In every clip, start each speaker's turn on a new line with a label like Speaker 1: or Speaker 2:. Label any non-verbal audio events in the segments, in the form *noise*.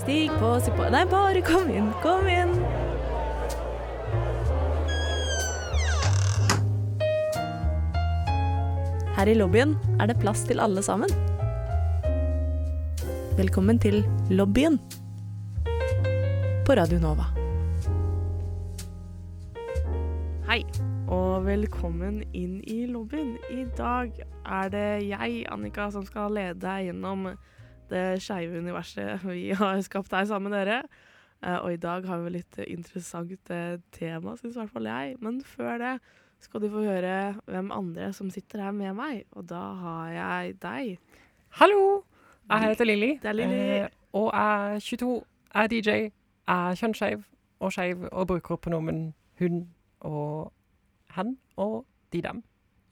Speaker 1: Stig på, stig på Nei, bare kom inn, kom inn. Her i lobbyen er det plass til alle sammen. Velkommen til lobbyen på Radio Nova.
Speaker 2: Hei, og velkommen inn i lobbyen. I dag er det jeg, Annika, som skal lede deg gjennom det skeive universet vi har skapt her sammen med dere. Eh, Og i dag har vi litt interessant eh, tema, syns i hvert fall jeg. Men før det skal du få høre hvem andre som sitter her med meg, og da har jeg deg.
Speaker 3: Hallo! Jeg heter Lilly.
Speaker 2: Det er Lilly.
Speaker 3: eh, Og jeg er 22, jeg er DJ, jeg er kjønnsskeiv og skeiv og bruker pronomen hun og hen og de dem.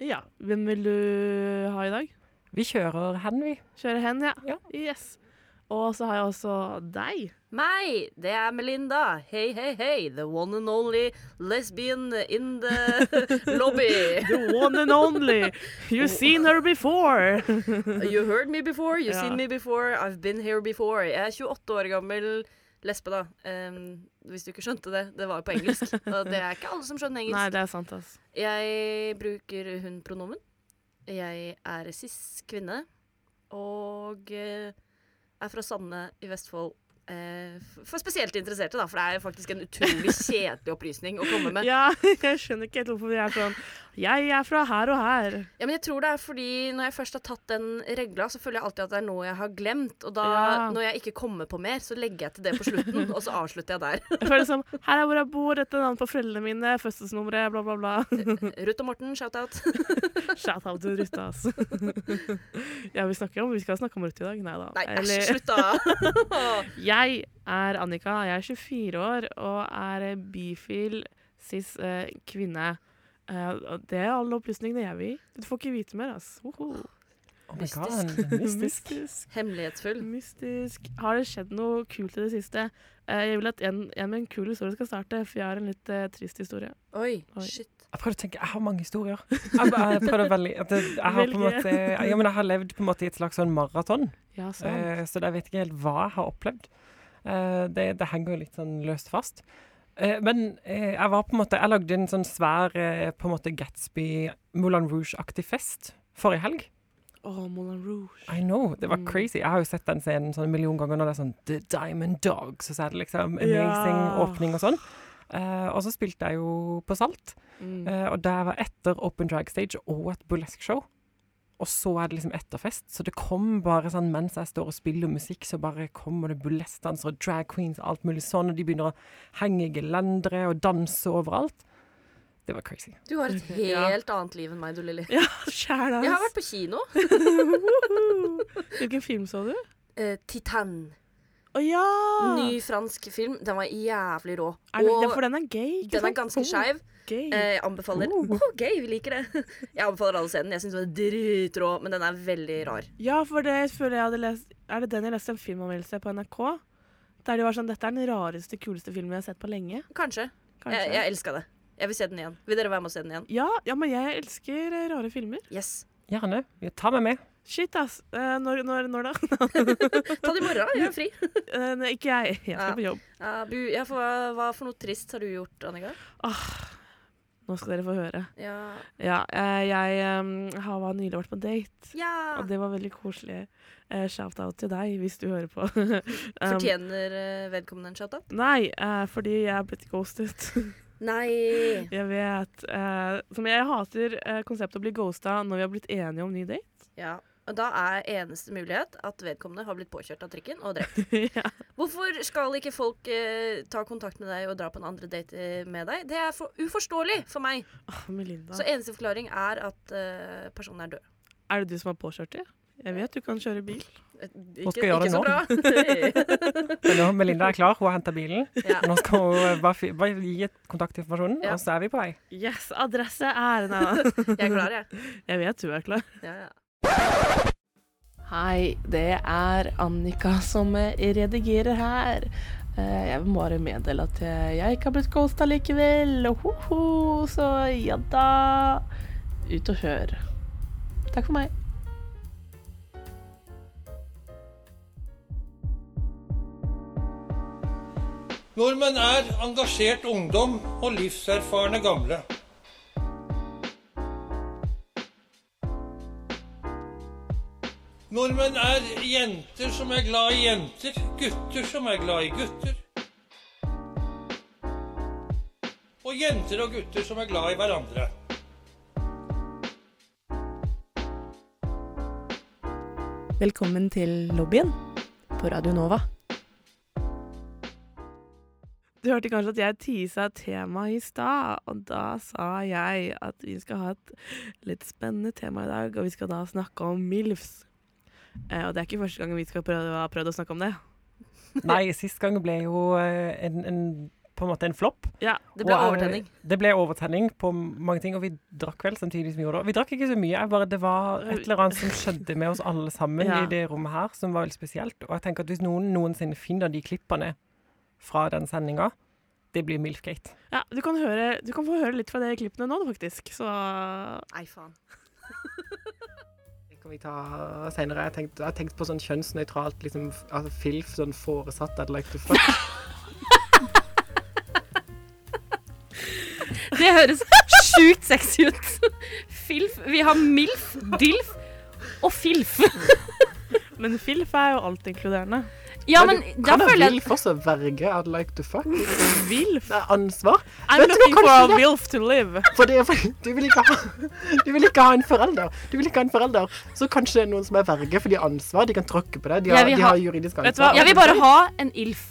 Speaker 2: Ja, hvem vil du ha i dag?
Speaker 3: Vi kjører hen, vi.
Speaker 2: Kjøre hen, ja.
Speaker 3: Ja.
Speaker 2: Yes. Og så har jeg også deg.
Speaker 4: Meg, det er Melinda. Hei, hei, hei. The one and only lesbian in the *laughs* lobby.
Speaker 2: The one and only. You've seen her before.
Speaker 4: *laughs* You heard me before, you've
Speaker 2: Ja.
Speaker 4: seen me before, I've been here before. Jeg er 28 år gammel lesbe, da. Em, hvis du ikke skjønte det. Det var jo på engelsk. Og det er ikke alle som skjønner
Speaker 2: Nei,
Speaker 4: engelsk.
Speaker 2: det er sant, ass.
Speaker 4: Jeg bruker hun-pronomen. Jeg er cis kvinne. Og eh, er fra Sande i Vestfold. Eh, f- For spesielt interesserte, da, for det er jo faktisk en
Speaker 2: *laughs*
Speaker 4: utrolig kjedelig opplysning å komme med.
Speaker 2: Ja, jeg skjønner ikke helt hvorfor vi er sånn. Jeg er fra her og her.
Speaker 4: Ja, men jeg tror det er fordi når jeg først har tatt den regla, så føler jeg alltid at det er noe jeg har glemt. Og da,
Speaker 2: Ja.
Speaker 4: når jeg ikke kommer på mer, så legger jeg til det på slutten,
Speaker 2: *laughs*
Speaker 4: og så avslutter jeg der.
Speaker 2: Jeg føler som Her er hvor jeg bor, dette er navnet på foreldrene mine, fødselsnummeret, bla, bla, bla.
Speaker 4: Ruth og Morten,
Speaker 2: *laughs*
Speaker 4: shout-out.
Speaker 2: Shout out til Ruth, ass. Ja, vi snakker om Vi skal snakke om Ruth i dag. Nei da.
Speaker 4: Nei, æsj,
Speaker 2: Eller-
Speaker 4: slutt,
Speaker 2: *laughs*
Speaker 4: da.
Speaker 2: Jeg er Annika, jeg er 24 år og er bifil cis eh, kvinne. Eh, og det er alle opplysningene jeg vil. Du får ikke vite mer, ass. Woho.
Speaker 3: Oh my
Speaker 4: Mystisk.
Speaker 3: God, det er mystisk.
Speaker 2: Mystisk. *laughs*
Speaker 4: Hemmelighetsfull.
Speaker 2: Mystisk. Har det skjedd noe kult i det siste? Eh, jeg vil at en, en med en kul historie skal starte, for jeg har en litt eh, trist historie.
Speaker 4: Oi,
Speaker 2: Oi.
Speaker 4: shit.
Speaker 3: Jeg prøvde å tenke, jeg har mange historier. Jeg, jeg prøvde veldig, at det- jeg har på en
Speaker 2: Velge.
Speaker 3: måte, ja, men jeg har levd på en måte i et slags sånn maraton,
Speaker 2: Ja, sant.
Speaker 3: eh, så jeg vet ikke helt hva jeg har opplevd. Eh, Det, det henger jo litt sånn løst fast. Eh, Men eh, jeg var på en måte, jeg lagde en sånn svær eh, på en måte Gatsby Moulin Rouge-aktig fest forrige helg.
Speaker 2: Å, Moulin Rouge.
Speaker 3: I know, det var
Speaker 2: Mm.
Speaker 3: crazy. Jeg har jo sett den scenen sånn en million ganger når det er sånn The Diamond Dog, så er det liksom amazing
Speaker 2: Ja.
Speaker 3: åpning og sånn. Eh, og så spilte jeg jo på Salt.
Speaker 2: Mm.
Speaker 3: Eh, og der var etter Open Drag Stage og et burlesque-show. Og så er det liksom etterfest, så det kom bare sånn mens jeg står og spiller musikk, så bare kommer det burleskdansere og drag queens og alt mulig sånn, og de begynner å henge i gelendere og danse overalt. Det var crazy.
Speaker 4: Du har et
Speaker 2: Ok, ja.
Speaker 4: helt annet liv enn meg, du, Lilly.
Speaker 2: Ja, sjæl,
Speaker 4: Jeg har
Speaker 2: ass.
Speaker 4: vært på kino.
Speaker 2: Woho. Hvilken film så du?
Speaker 4: Eh, Titan.
Speaker 2: Å ja!
Speaker 4: Ny fransk film. Den var jævlig rå.
Speaker 2: Ah. Er det, det,
Speaker 4: Og
Speaker 2: for den er gay, ikke
Speaker 4: den er
Speaker 2: sant?
Speaker 4: ganske
Speaker 2: Oh,
Speaker 4: skeiv.
Speaker 2: gay.
Speaker 4: Eh, Jeg anbefaler Å, gøy, vi liker det. *laughs* Jeg anbefaler alle å se den. Jeg syns den er dritrå, men den er veldig rar.
Speaker 2: Ja, for det føler jeg hadde lest Er det den jeg leste en filmanmeldelse på NRK? Der de var sånn Dette er den rareste, kuleste filmen jeg har sett på lenge.
Speaker 4: Kanskje.
Speaker 2: Kanskje.
Speaker 4: Jeg, jeg elska det. Jeg vil se den igjen. Vil dere være med og se den igjen?
Speaker 2: ja, ja, men jeg elsker eh, rare filmer.
Speaker 4: Yes.
Speaker 3: Gjerne. Ta meg med.
Speaker 2: Shit, ass. Eh, når, når, når da? *laughs*
Speaker 4: Ta det i morgen, jeg er fri.
Speaker 2: Eh, nei, ikke jeg. Jeg
Speaker 4: Ja.
Speaker 2: skal på jobb.
Speaker 4: *laughs* Ja, bu, ja, for hva, hva for noe trist har du gjort, Annika?
Speaker 2: Nå skal dere få høre.
Speaker 4: Ja.
Speaker 2: Ja, eh, jeg eh, har var nylig vært på date,
Speaker 4: ja.
Speaker 2: og det var veldig koselig. Eh, Shout-out til deg, hvis du hører på. *laughs* um,
Speaker 4: Fortjener eh, vedkommende en shout-out?
Speaker 2: nei, eh, fordi jeg er blitt ghostet.
Speaker 4: Nei.
Speaker 2: Jeg vet. eh, som jeg hater eh, konseptet å bli ghosta når vi har blitt enige om ny date.
Speaker 4: *laughs* Ja. Og da er eneste mulighet at vedkommende har blitt påkjørt av trikken og *laughs* drept.
Speaker 2: ja.
Speaker 4: Hvorfor skal ikke folk eh, ta kontakt med deg og dra på en andre date eh, med deg? Det er for uforståelig for meg.
Speaker 2: Åh, Melinda.
Speaker 4: Så eneste forklaring er at eh, personen er død.
Speaker 2: er det du som har påkjørt det? Jeg vet du kan kjøre bil.
Speaker 4: Eh,
Speaker 3: Hva
Speaker 4: Ikke,
Speaker 3: skal jeg
Speaker 4: ikke så bra.
Speaker 3: gjøre *laughs* Men nå, Melinda er klar, hun har henta bilen.
Speaker 4: *laughs* ja.
Speaker 3: Nå skal hun eh, bare, fi- bare gi et kontaktinformasjonen,
Speaker 4: Ja.
Speaker 3: og så er vi på vei.
Speaker 2: Yes, adresse er Nei da.
Speaker 4: Jeg er klar, jeg.
Speaker 2: *laughs* Jeg vet du er klar.
Speaker 4: Ja, ja.
Speaker 2: Hei, det er Annika som eh, redigerer her. Eh, Jeg må bare meddele at eh, jeg ikke har blitt ghosta likevel. Hoho, så ja da. Ut og kjør. Takk for meg.
Speaker 5: Nordmenn er engasjert ungdom og livserfarne gamle. Nordmenn er jenter som er glad i jenter, gutter som er glad i gutter. Og jenter og gutter som er glad i hverandre.
Speaker 1: Velkommen til lobbyen på Radio Nova.
Speaker 2: Du hørte kanskje at jeg teasa et tema i stad, og da sa jeg at vi skal ha et litt spennende tema i dag, og vi skal da snakke om MILFs. Eh, og det er ikke første gang vi skal prøve, har prøvd å snakke om det.
Speaker 3: Nei, sist gang ble jo eh, en, en, på en måte en flopp.
Speaker 2: Ja,
Speaker 4: Det
Speaker 3: Og,
Speaker 4: ble
Speaker 3: eh,
Speaker 4: overtenning.
Speaker 3: Det ble overtenning på mange ting, og vi drakk vel samtidig som vi gjorde det. Vi drakk ikke så mye, jeg bare, det var et eller annet som skjedde med oss alle sammen
Speaker 2: Ja.
Speaker 3: i det rommet her, som var veldig spesielt. Og jeg tenker at hvis noen noensinne finner de klippene fra den sendinga, det blir Milfgate.
Speaker 2: ja du, kan høre, du kan få høre litt fra de klippene nå, da, faktisk. Så
Speaker 4: Nei, faen.
Speaker 3: Det kan vi ta senere. Jeg har tenkt, jeg tenkte på sånn kjønnsnøytralt liksom, altså filf, sånn foresatt I'd like to fuck.
Speaker 4: Det høres sjukt sexy ut. Filf. Vi har MILF, DILF og FILF.
Speaker 2: Men Filf er jo altinkluderende.
Speaker 4: Ja, men *laughs* da føler jeg
Speaker 3: Vil fortsatt verge I'd like to fuck. Det
Speaker 2: Vilf.
Speaker 3: er ansvar.
Speaker 2: I'm
Speaker 3: Vet du hva,
Speaker 2: looking for
Speaker 3: kanskje
Speaker 2: a
Speaker 3: det-
Speaker 2: Wilf to live.
Speaker 3: For det, er fordi- du, vil ikke ha, du vil ikke ha en forelder. Du vil ikke ha en forelder. Så kanskje det er noen som er verge, for de har ansvar. De kan tråkke på deg. De
Speaker 4: Jeg
Speaker 3: har,
Speaker 4: vil
Speaker 3: de
Speaker 4: ha-
Speaker 3: har juridisk
Speaker 2: Vet du hva?
Speaker 3: ansvar.
Speaker 4: Jeg vil bare ha en ILF.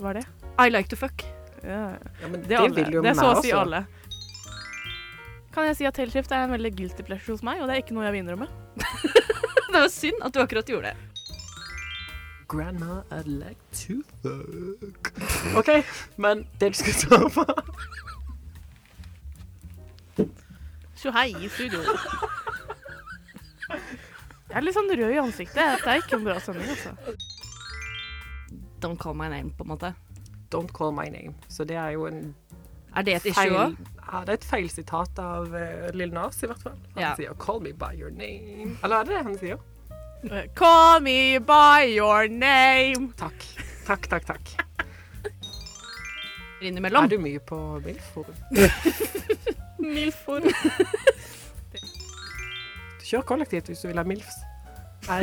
Speaker 2: Hva er det?
Speaker 4: I like to fuck.
Speaker 2: Ja.
Speaker 3: Ja, men
Speaker 2: Det, er alle.
Speaker 3: vil jo
Speaker 2: det er så
Speaker 3: meg
Speaker 2: å si
Speaker 3: også.
Speaker 2: alle. Kan jeg si at Tailshift er en veldig guilty pleasure hos meg, og det er ikke noe jeg vil innrømme.
Speaker 4: Det var synd at du akkurat gjorde det.
Speaker 3: Grandma, I'd like to fuck. OK, men det du skal stå på
Speaker 2: Så hei i studio. Jeg er litt sånn rød i ansiktet. Dette er ikke en bra sending, altså.
Speaker 4: Don't call my name, på en måte.
Speaker 3: Don't call my name. Så det er jo en
Speaker 4: Er det et issue
Speaker 3: feil
Speaker 4: òg?
Speaker 3: ja, Det er et feil sitat av uh, Lille Nas, i hvert fall. Han
Speaker 4: Ja.
Speaker 3: sier 'call me by your name'. Eller er det det han sier?
Speaker 2: Call me by your name.
Speaker 3: Takk. Takk, takk, takk. Er
Speaker 4: Innimellom?
Speaker 3: du mye på Milforum? *laughs*
Speaker 2: Milfor.
Speaker 3: Kjør kollektivt hvis du vil ha Milfs.
Speaker 2: *laughs*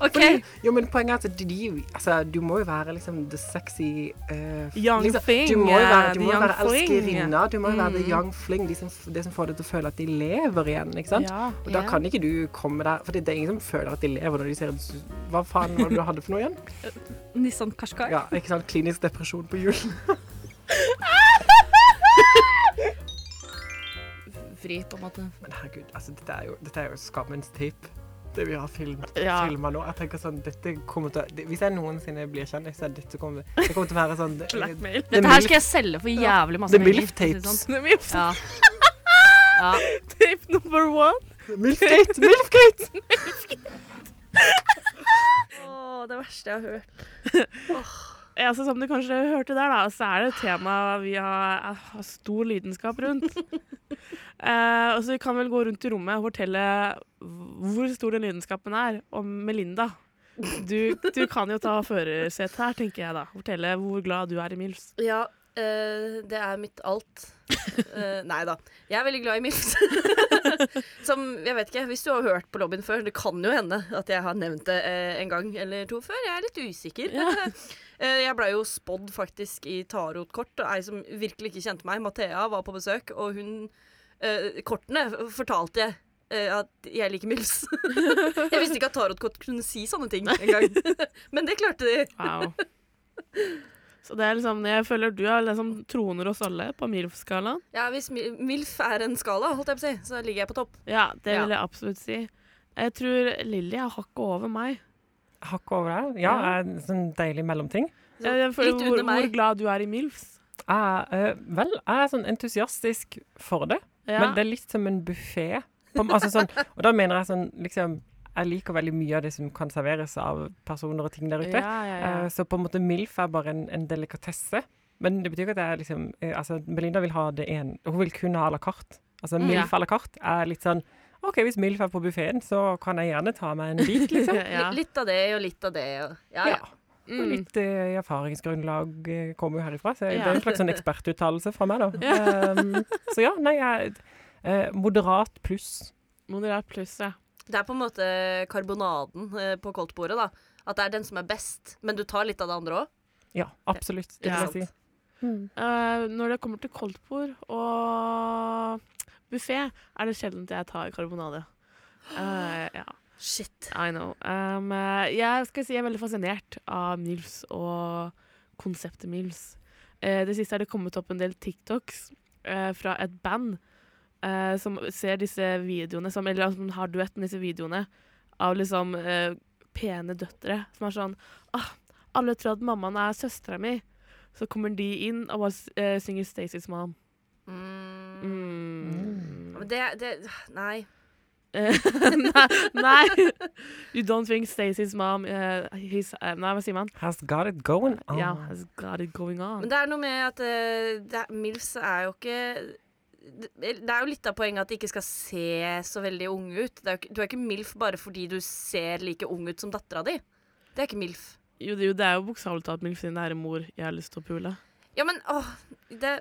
Speaker 4: OK.
Speaker 3: Fordi- Jo, men poenget er at de, altså, du må jo være liksom the sexy eh,
Speaker 2: Young
Speaker 3: liksom,
Speaker 2: thing,
Speaker 3: Du må jo være,
Speaker 2: eh,
Speaker 3: du
Speaker 2: the
Speaker 3: må jo
Speaker 2: young Mm.
Speaker 3: være
Speaker 2: fling.
Speaker 3: elskerinna. Du må jo være the young fling. De som, f- det som får deg til å føle at de lever igjen. ikke sant?
Speaker 2: Ja.
Speaker 3: Og da
Speaker 4: Ja.
Speaker 3: kan ikke du komme der For det er ingen som føler at de lever når de ser et s- Hva faen var det du hadde for
Speaker 4: *laughs*
Speaker 3: noe igjen?
Speaker 4: Eh, Nissan Kashkai.
Speaker 3: Ja, ikke sant? Klinisk depresjon på jul.
Speaker 4: *laughs* Vri, på en måte.
Speaker 3: Men herregud, altså, dette er jo, dette er jo skammens tape. Det vi har film,
Speaker 2: Ja.
Speaker 3: filma nå. Jeg tenker sånn, dette kommer til å det, Hvis jeg noensinne blir kjendis, så er dette kommer, det kommer til å være sånn det-
Speaker 2: Blackmail.
Speaker 3: The
Speaker 4: Dette her
Speaker 3: Milf-
Speaker 4: skal jeg selge for jævlig masse
Speaker 3: The
Speaker 4: penger,
Speaker 3: Milf
Speaker 4: for å si det
Speaker 3: Tapes.
Speaker 4: sånn.
Speaker 2: The Milf *laughs*
Speaker 4: Ja. ja.
Speaker 2: tape number one.
Speaker 4: sånn.
Speaker 3: Milfgate!
Speaker 4: *laughs*
Speaker 3: Milfgate!
Speaker 4: Å, det verste jeg har hørt.
Speaker 2: Ja, så som du kanskje hørte der, da, så er det et tema vi har, har stor lidenskap rundt. *laughs* eh, og så vi kan vel gå rundt i rommet og fortelle hvor stor den lidenskapen er om Melinda. Du, du kan jo ta førersetet her, tenker jeg da. Fortelle hvor glad du er i Milfs.
Speaker 4: Ja, eh, det er mitt alt. Eh, nei da. Jeg er veldig glad i MILFs. Som, jeg vet ikke, Hvis du har hørt på lobbyen før, det kan jo hende at jeg har nevnt det eh, en gang eller to før. Jeg er litt usikker. Eh, jeg blei jo spådd faktisk i tarotkort, og ei som virkelig ikke kjente meg, Mathea, var på besøk, og hun eh, Kortene f- fortalte jeg eh, at jeg liker MILFs. jeg visste ikke at tarotkort kunne si sånne ting engang. Men det klarte de.
Speaker 2: Wow. Så det er liksom, jeg føler du er liksom troner oss alle på Milf-skalaen.
Speaker 4: Ja, hvis mi- MILF er en skala, holdt jeg på å si, så ligger jeg på topp.
Speaker 2: Ja, det
Speaker 4: Ja.
Speaker 2: vil jeg absolutt si. Jeg tror Lilly er hakket over meg.
Speaker 3: Hakk over der. Ja,
Speaker 2: Ja.
Speaker 3: er en sånn deilig mellomting.
Speaker 4: Så
Speaker 2: Jeg, jeg føler
Speaker 4: litt
Speaker 2: hvor,
Speaker 4: under meg.
Speaker 2: hvor glad du er i Milfs.
Speaker 3: Jeg, eh, vel, jeg er sånn entusiastisk for det,
Speaker 2: Ja.
Speaker 3: men det er litt som en buffé. Altså sånn, og da mener jeg sånn liksom Jeg liker veldig mye av det som kan serveres av personer og ting der ute.
Speaker 2: Ja, ja, ja.
Speaker 3: Eh, Så på en måte MILF er bare en, en delikatesse. Men det betyr ikke at jeg liksom eh, Altså, Melinda vil ha det en Hun vil kun ha à la carte. Altså
Speaker 2: Mm.
Speaker 3: MILF à la carte er litt sånn OK, hvis MILF er på buffeen, så kan jeg gjerne ta meg en bit, liksom.
Speaker 2: *laughs* ja.
Speaker 4: Li- Litt av det og litt av det. Og, ja, ja.
Speaker 3: Ja. Og
Speaker 2: Mm.
Speaker 3: litt eh, erfaringsgrunnlag eh, kommer jo herifra, så det
Speaker 2: Ja.
Speaker 3: er en slags sånn ekspertuttalelse fra
Speaker 2: *laughs*
Speaker 3: meg, da. Um, så ja, nei, jeg eh, Moderat pluss.
Speaker 2: Moderat pluss, ja.
Speaker 4: Det er på en måte karbonaden eh, på koldtbordet, da. At det er den som er best, men du tar litt av det andre òg.
Speaker 3: Ja, absolutt. Det
Speaker 2: Ja.
Speaker 3: vil jeg si.
Speaker 6: Mm.
Speaker 2: Eh, når det kommer til koldtbord og buffé, er det sjelden jeg tar karbonade. Eh, ja,
Speaker 4: Shit.
Speaker 2: I know. Um, eh, jeg skal si jeg er veldig fascinert av Mills og konseptet Mills. Eh, det siste er det kommet opp en del TikToks eh, fra et band eh, som ser disse videoene, som, eller som har duett med disse videoene, av liksom eh, pene døtre som er sånn ah, Alle tror at mammaen er søstera mi. Så kommer de inn og bare s- eh, synger Stacey's mom.
Speaker 4: Mm.
Speaker 2: Mm.
Speaker 4: Men det, det Nei.
Speaker 2: Eh, nei, nei. *laughs* You don't think Stacey's mom eh, his, eh, Nei, hva sier man?
Speaker 3: Has got it going on.
Speaker 2: Yeah, has got it going on.
Speaker 4: Men det er noe med at eh, det, er- MILFs er jo ikke det det er jo litt av poenget at de ikke skal se så veldig unge ut. Det er jo ikke, du er ikke MILF bare fordi du ser like ung ut som dattera di. Det er ikke MILF.
Speaker 2: Jo, det, jo, det er jo bokstavelig talt min sin nære mor jeg har lyst til å pule.
Speaker 4: Ja, men åh det,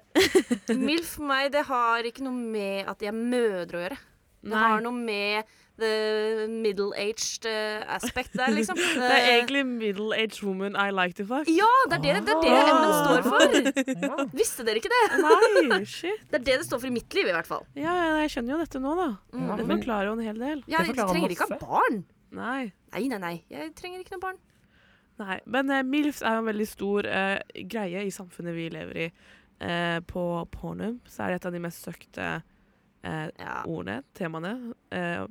Speaker 4: MILF for meg, det har ikke noe med at de er mødre å gjøre. Det har noe med the middle-aged eh, aspect der, liksom.
Speaker 3: *laughs*
Speaker 2: det er
Speaker 3: Eh.
Speaker 2: egentlig middle aged woman I like to fuck.
Speaker 4: Ja, det er det det, er
Speaker 3: Ah.
Speaker 4: det M-en står for!
Speaker 2: Mm.
Speaker 3: Ja.
Speaker 4: Visste dere ikke det?
Speaker 2: *laughs* Nei, shit.
Speaker 4: Det er det det står for i mitt liv, i hvert fall.
Speaker 2: Ja, ja, jeg skjønner jo dette nå, da.
Speaker 3: Ja,
Speaker 2: Det
Speaker 3: men-
Speaker 2: forklarer jo en hel del.
Speaker 4: Jeg
Speaker 3: Det forklarer
Speaker 4: trenger ikke ha
Speaker 3: masse.
Speaker 4: barn.
Speaker 2: Nei.
Speaker 4: Nei, nei, nei. Jeg trenger ikke noe barn.
Speaker 2: Nei, men eh, MILFs er jo en veldig stor eh, greie i samfunnet vi lever i. Eh, på pornum så er det et av de mest søkte eh,
Speaker 4: Ja.
Speaker 2: ordene, temaene, eh,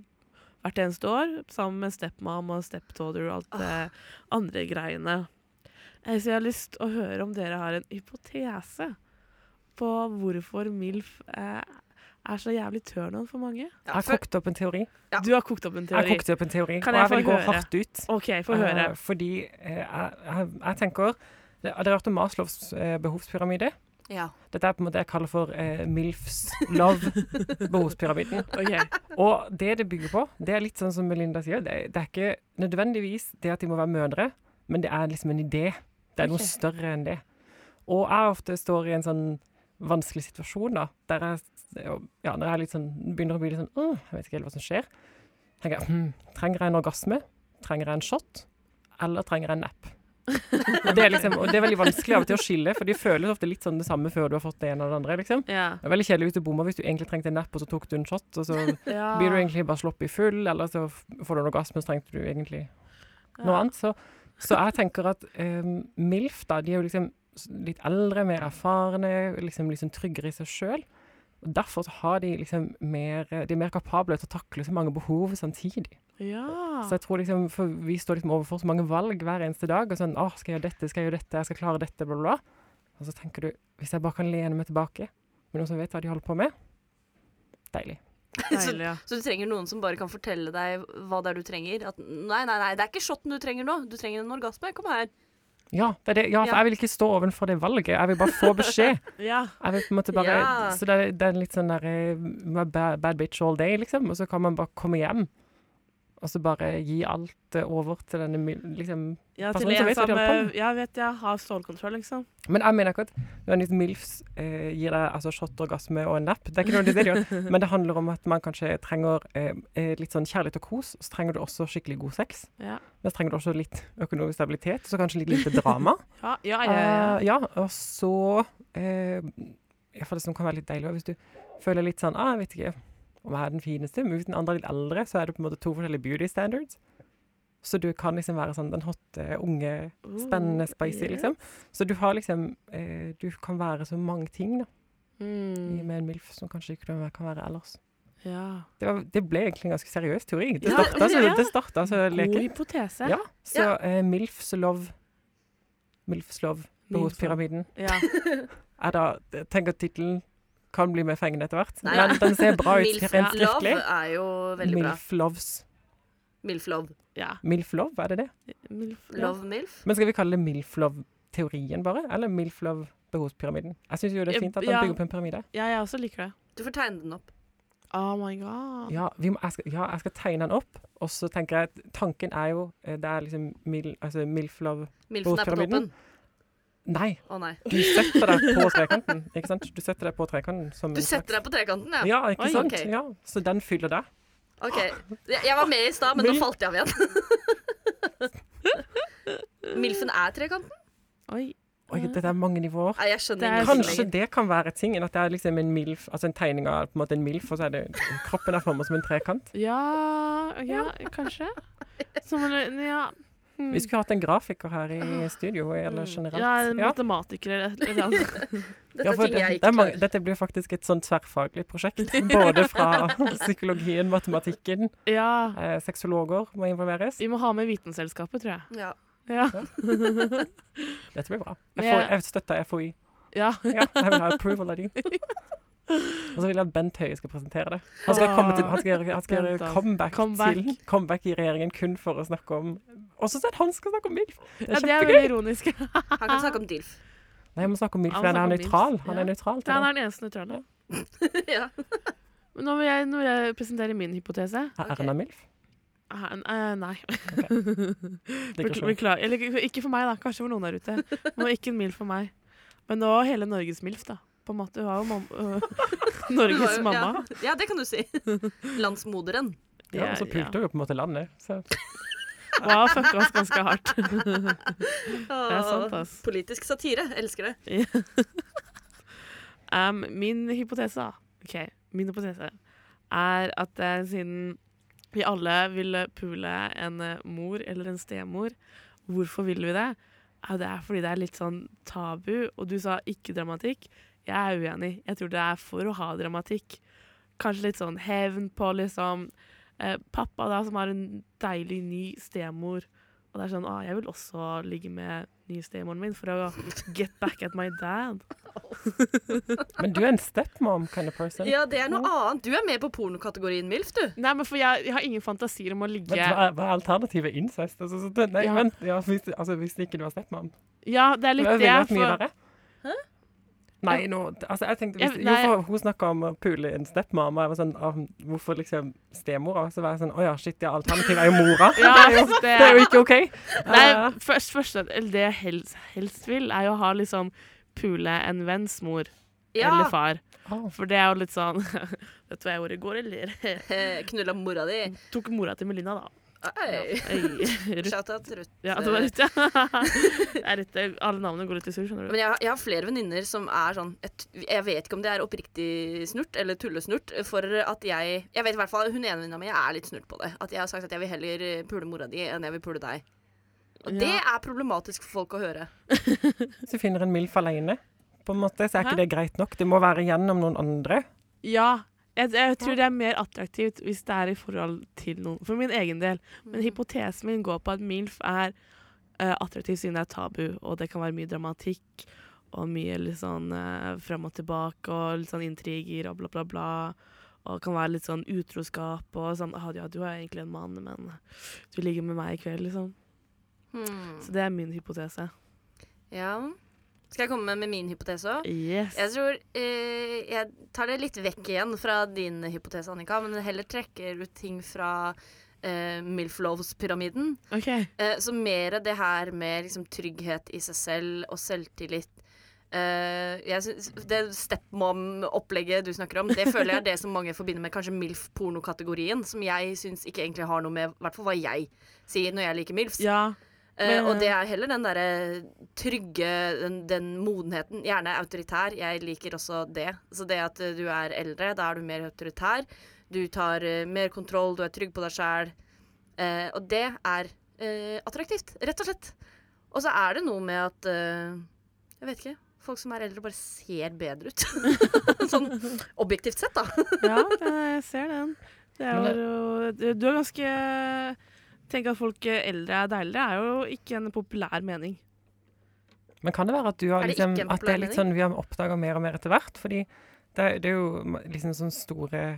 Speaker 2: hvert eneste år. Sammen med stepmom og stepdaughter og alt det
Speaker 4: Ah.
Speaker 2: andre greiene. Eh, så jeg har lyst til å høre om dere har en hypotese på hvorfor MILF eh, er så jævlig turn-on for mange.
Speaker 4: Ja,
Speaker 3: Jeg har
Speaker 4: for,
Speaker 3: kokt opp en teori.
Speaker 4: Ja.
Speaker 2: Du har kokt opp en
Speaker 3: Jeg har
Speaker 2: teori.
Speaker 3: kokt opp en teori,
Speaker 2: Kan
Speaker 3: og
Speaker 2: jeg
Speaker 3: jeg vil
Speaker 2: få
Speaker 3: gå
Speaker 2: høre?
Speaker 3: hardt ut.
Speaker 2: OK, få høre.
Speaker 3: Eh, fordi eh, jeg, jeg, jeg tenker det- Har dere hørt om Maslows eh, behovspyramide?
Speaker 4: ja.
Speaker 3: Dette er på en måte jeg kaller for eh, MILFs
Speaker 2: *laughs*
Speaker 3: love-behovspyramiden. *laughs*
Speaker 2: Ok.
Speaker 3: Og det det bygger på, det er litt sånn som Melinda sier, det, er- det er ikke nødvendigvis det at de må være mødre, men det er liksom en idé. Det er noe
Speaker 2: Ok.
Speaker 3: større enn det. Og jeg ofte står i en sånn vanskelig situasjon da, der jeg, ja, når jeg litt sånn, begynner å bli litt sånn, «Åh, jeg vet ikke helt hva som skjer, tenker jeg, «Hm, trenger jeg en orgasme? Trenger jeg en shot? Eller trenger jeg en napp? Det er liksom, *laughs* og det er veldig vanskelig av og til å skille, for de føles ofte litt sånn det samme før du har fått det ene eller det andre, liksom.
Speaker 2: Ja.
Speaker 3: Det er veldig kjedelig hvis du bommer hvis du egentlig trengte en napp, og så tok du en shot, og så
Speaker 2: ja.
Speaker 3: blir du egentlig bare sloppy full, eller så f- får du noe gass, men så trengte du egentlig noe
Speaker 2: Ja.
Speaker 3: annet. Så, så jeg tenker at em, MILF, da, de er jo liksom s- litt eldre, mer erfarne, liksom, liksom tryggere i seg sjøl. Derfor så har de liksom mer De er mer kapable til å takle så mange behov samtidig.
Speaker 2: Ja.
Speaker 3: Så jeg tror liksom For vi står liksom overfor så mange valg hver eneste dag. Og sånn Å, skal jeg gjøre dette? Skal jeg gjøre dette? Jeg skal klare dette? Bla, bla. bla. Og så tenker du Hvis jeg bare kan lene meg tilbake med noen som vet hva de holder på med. Deilig.
Speaker 2: Deilig, ja.
Speaker 4: Så du trenger noen som bare kan fortelle deg hva det er du trenger. At nei, nei, nei, det er ikke shotten du trenger nå. Du trenger en orgasme. Kom her.
Speaker 3: Ja, det er det. ja, for
Speaker 4: Ja.
Speaker 3: jeg vil ikke stå ovenfor det valget. Jeg vil bare få beskjed.
Speaker 2: ja.
Speaker 3: Jeg vil på en måte bare,
Speaker 4: *laughs* Ja.
Speaker 3: Så det er, det er litt sånn der eh, my bad, bad bitch all day, liksom. Og så kan man bare komme hjem. Og så bare gi alt eh, over til denne mil- liksom.
Speaker 2: Ja,
Speaker 3: Personen
Speaker 2: til
Speaker 3: som
Speaker 2: en
Speaker 3: vet hva de
Speaker 2: som
Speaker 3: holder på med.
Speaker 2: eh, ja, vet jeg har stålkontroll, liksom.
Speaker 3: Men jeg mener ikke at nødvendigvis MILFs eh, gir deg altså, shot, orgasme og en napp. Det er ikke noe det de gjør.
Speaker 4: *laughs*
Speaker 3: Men det handler om at man kanskje trenger eh, eh, litt sånn kjærlighet og kos. Og så trenger du også skikkelig god sex.
Speaker 2: Ja,
Speaker 3: Men så trenger du også litt økonomisk stabilitet. Så kanskje litt lite drama.
Speaker 2: ja, ja. ja, ja.
Speaker 3: Eh, ja, og så eh, ja, For det som kan være litt deilig også, hvis du føler litt sånn ah, Jeg vet ikke om jeg er den fineste, men hvis den andre er litt eldre, så er det på en måte to forskjellige beauty standards. Så du kan liksom være sånn den hotte, unge, Ah, spennende, spicy,
Speaker 2: Uh, yeah.
Speaker 3: liksom. Så du har liksom eh, Du kan være så mange ting da, i-
Speaker 2: Mm,
Speaker 3: med en MILF som kanskje ikke du kan være ellers.
Speaker 2: ja.
Speaker 3: Det, var, det ble egentlig en ganske seriøs teori. Det
Speaker 4: Ja,
Speaker 3: starta så,
Speaker 2: ja.
Speaker 3: det starta så
Speaker 2: God
Speaker 3: lekent.
Speaker 2: hypotese.
Speaker 3: Ja, så eh, MILFs love MILFs love, behovspyramiden.
Speaker 2: Ja.
Speaker 3: er da Jeg tenker tittelen kan bli mer fengende etter hvert.
Speaker 4: Nei,
Speaker 3: men
Speaker 4: ja.
Speaker 3: den ser bra ut
Speaker 4: Milf
Speaker 3: rent
Speaker 4: love
Speaker 3: skriftlig.
Speaker 4: er jo veldig bra.
Speaker 3: Milf loves.
Speaker 4: Milf love.
Speaker 2: *laughs* ja.
Speaker 3: Milf love, er det det?
Speaker 2: Milf- ja.
Speaker 4: Love milf.
Speaker 3: Men skal vi kalle det milf love-teorien bare? Eller milf love behovspyramiden? Jeg syns jo det er fint at den
Speaker 2: Ja.
Speaker 3: bygger opp en pyramide.
Speaker 2: Ja, jeg også liker det.
Speaker 4: Du får tegne den opp.
Speaker 2: Oh my god.
Speaker 3: Ja, vi må, jeg, skal, ja, jeg skal tegne den opp, og så tenker jeg at tanken er jo eh, Det er liksom mil, altså Milflov
Speaker 4: Milfen er på
Speaker 3: Botpyramiden?
Speaker 4: toppen.
Speaker 3: Nei,
Speaker 4: Å nei.
Speaker 3: du setter deg på trekanten, ikke sant? Du setter deg på trekanten som
Speaker 4: Du setter deg på trekanten, ja?
Speaker 3: Ja, ikke
Speaker 4: Oi,
Speaker 3: sant?
Speaker 4: ok.
Speaker 3: Ja, så den fyller det.
Speaker 4: OK. Jeg jeg var med i stad, men nå
Speaker 3: Mil-
Speaker 4: falt jeg av igjen. *laughs* Milfen er trekanten?
Speaker 2: Oi.
Speaker 3: Oi,
Speaker 4: Mm.
Speaker 3: det er mange nivåer.
Speaker 4: Nei, jeg skjønner
Speaker 2: Det er
Speaker 4: ingenting
Speaker 3: Kanskje
Speaker 4: lenger.
Speaker 3: det kan være tingen, at det er liksom en milf, altså en tegning av på en måte en milf, og så er det kroppen er formet som en trekant.
Speaker 2: Ja, ja *laughs* kanskje. Som en ja. Hmm.
Speaker 3: Vi skulle hatt en grafiker her i studio, eller
Speaker 4: Hmm.
Speaker 3: generelt.
Speaker 2: ja, en matematiker eller et eller annet. *laughs*
Speaker 4: Dette
Speaker 3: Ja,
Speaker 4: er
Speaker 3: for
Speaker 4: ting
Speaker 3: det-
Speaker 4: jeg
Speaker 3: det er
Speaker 4: ikke
Speaker 3: mange-
Speaker 4: klarer.
Speaker 3: Dette blir faktisk et sånn tverrfaglig
Speaker 4: *laughs*
Speaker 3: prosjekt, både fra psykologien, matematikken,
Speaker 2: Ja.
Speaker 3: eh, sexologer må involveres.
Speaker 2: Vi må ha med Vitenselskapet, tror jeg.
Speaker 4: Ja.
Speaker 2: Ja.
Speaker 3: Dette blir bra.
Speaker 2: Men
Speaker 3: Jeg, får,
Speaker 2: jeg-
Speaker 3: jeg støtter FOI.
Speaker 2: ja.
Speaker 3: Ja, *laughs* jeg vil ha approval av
Speaker 2: *laughs*
Speaker 3: de. Og så vil jeg at Bent Høie skal presentere det. Han skal, komme til, han skal, gjøre- han skal
Speaker 2: Bent,
Speaker 3: gjøre
Speaker 2: altså.
Speaker 3: comeback,
Speaker 2: Comeback.
Speaker 3: til comeback i regjeringen kun for å snakke om Og så at han skal snakke om MILF! Det er
Speaker 2: ja det er
Speaker 3: kjempegøy!
Speaker 2: veldig *laughs* ironisk.
Speaker 4: Han kan snakke om DILF. *laughs*
Speaker 3: Nei, jeg må snakke om MILF,
Speaker 2: Han
Speaker 3: for
Speaker 2: må
Speaker 3: han er
Speaker 2: snakke om
Speaker 3: nøytral.
Speaker 2: MILF,
Speaker 3: Han
Speaker 2: ja.
Speaker 3: er nøytral til
Speaker 2: Han
Speaker 3: det.
Speaker 2: er den eneste nøytrale.
Speaker 4: Ja.
Speaker 2: Men nå vil jeg, når jeg presenterer min hypotese
Speaker 3: Er
Speaker 4: Ok.
Speaker 3: Erna MILF?
Speaker 2: Ah, eh, Nei. Bekl-
Speaker 3: Digresjon.
Speaker 2: Beklager. Eller ikke- ikke for meg, da. Kanskje for noen der ute. Hun var ikke en MILF for meg. Men nå hele Norges MILF, da. På en måte. Hun var jo mam- *laughs*
Speaker 4: Hun
Speaker 2: øh,
Speaker 4: var
Speaker 2: Norges
Speaker 4: jo-
Speaker 2: mamma.
Speaker 4: Ja. ja, det kan du si. Landsmoderen.
Speaker 2: Det
Speaker 3: sånn- Ja, og så
Speaker 2: er-
Speaker 3: pulte hun jo på en måte landet.
Speaker 2: *laughs*
Speaker 3: Så
Speaker 2: ja. Hun har fucka oss ganske hardt. er
Speaker 4: Åh,
Speaker 2: sant, ass.
Speaker 4: Politisk satire. Elsker det.
Speaker 2: Um, min hypotese, da. Ok, min hypotese er at eh, siden vi alle ville pule en eh, mor eller en stemor, hvorfor vil vi det? Ja, det er fordi det er litt sånn tabu, og du sa ikke dramatikk. Jeg er uenig. Jeg tror det er for å ha dramatikk. Kanskje litt sånn hevn på liksom eh, pappa da, som har en deilig ny stemor. Og det er sånn, ah, jeg vil også ligge med nye stemoren min for å get back at my dad.
Speaker 3: Men du er en stepmom kind of person.
Speaker 4: Ja, det er noe annet. Du er med på pornokategorien MILF, du.
Speaker 2: Nei, men for jeg, jeg har ingen fantasier om å ligge
Speaker 3: Vent, hva, er- hva er alternativet? Incest? Altså, så det, nei,
Speaker 2: Ja.
Speaker 3: vent. Ja, hvis, altså, hvis ikke du var stepmom.
Speaker 2: Ja, det er
Speaker 3: Det
Speaker 2: litt
Speaker 3: ville
Speaker 2: det.
Speaker 3: vært mye
Speaker 2: For,
Speaker 3: verre. Nei, nå altså, jeg tenkte, hvis,
Speaker 2: Jeg-
Speaker 3: Jo,
Speaker 2: nei.
Speaker 3: for hun snakka om å pule en stepmamma. Jeg var sånn, ah, hvorfor liksom stemora? Så var jeg sånn Å ja, shit, ja, alternativet er jo mora.
Speaker 2: *laughs* ja, det,
Speaker 3: Det er jo ikke OK.
Speaker 2: Nei, først, først, eller det jeg helst, helst vil, er jo å ha liksom pule en venns mor
Speaker 4: Ja.
Speaker 2: eller far.
Speaker 3: Ah.
Speaker 2: For det er jo litt sånn *laughs* Vet du hva jeg gjorde i går, eller?
Speaker 4: Eh, *laughs* Knulla mora di.
Speaker 2: Tok mora til Melina, da.
Speaker 4: Oi.
Speaker 2: Ei, Ruth.
Speaker 4: Shout-out Ruth.
Speaker 2: Ja, det var
Speaker 3: *laughs*
Speaker 2: Ruth, ja. Det er Ruth. Alle navnene går litt i sur, skjønner du.
Speaker 4: Men jeg, jeg har flere venninner som er sånn jeg, t- jeg vet ikke om det er oppriktig snurt eller tullesnurt. For at jeg Jeg vet i hvert fall hun ene venninna mi er litt snurt på det. At jeg har sagt at jeg vil heller eh, pule mora di enn jeg vil pule deg. Og det er problematisk for folk å høre.
Speaker 3: Hvis du finner en MILF alene, på en måte, så er
Speaker 2: Hæ?
Speaker 3: ikke det greit nok. Det må være gjennom noen andre.
Speaker 2: Ja. Jeg, jeg tror det er mer attraktivt hvis det er i forhold til noen. For min egen del. Men hypotesen min går på at MILF er eh, attraktiv siden det er tabu, og det kan være mye dramatikk og mye litt sånn eh, fram og tilbake og litt sånn intriger og bla, bla, bla. Og kan være litt sånn utroskap og sånn ah, Ja, du er egentlig en mann, men du ligger med meg i kveld, liksom.
Speaker 4: Hmm.
Speaker 2: Så det er min hypotese.
Speaker 4: Ja. Skal jeg komme med min hypotese òg?
Speaker 2: Yes.
Speaker 4: Jeg tror eh, Jeg tar det litt vekk igjen fra din hypotese, Annika, men heller trekker ut ting fra eh, Milflovs-pyramiden.
Speaker 2: OK.
Speaker 4: Eh, så mer det her med liksom, trygghet i seg selv og selvtillit. Eh, jeg synes, det stepmom-opplegget du snakker om, det føler jeg er det som mange forbinder med kanskje MILF-pornokategorien, som jeg syns ikke egentlig har noe med i hvert fall hva jeg sier når jeg liker MILFs.
Speaker 2: Ja.
Speaker 4: Eh, og
Speaker 2: men-
Speaker 4: det er heller den derre trygge, den, den modenheten. Gjerne autoritær. Jeg liker også det. Så det at eh, du er eldre, da er du mer autoritær. Du tar eh, mer kontroll, du er trygg på deg sjæl. Eh, og det er eh, attraktivt, rett og slett. Og så er det noe med at eh, Jeg vet ikke. Folk som er eldre, bare ser bedre ut. *laughs* sånn objektivt sett, da.
Speaker 2: Ja, det- jeg ser den. Det er
Speaker 3: Men
Speaker 2: jo, du du er ganske Tenk at folk eh, eldre er deilige, er jo ikke en populær mening.
Speaker 3: Men kan det være at du har
Speaker 4: Er det
Speaker 3: liksom,
Speaker 4: ikke en
Speaker 3: at det er litt
Speaker 4: populær
Speaker 3: sånn vi har oppdaga mer og mer etter hvert? Fordi det, det er jo liksom sånne sånn store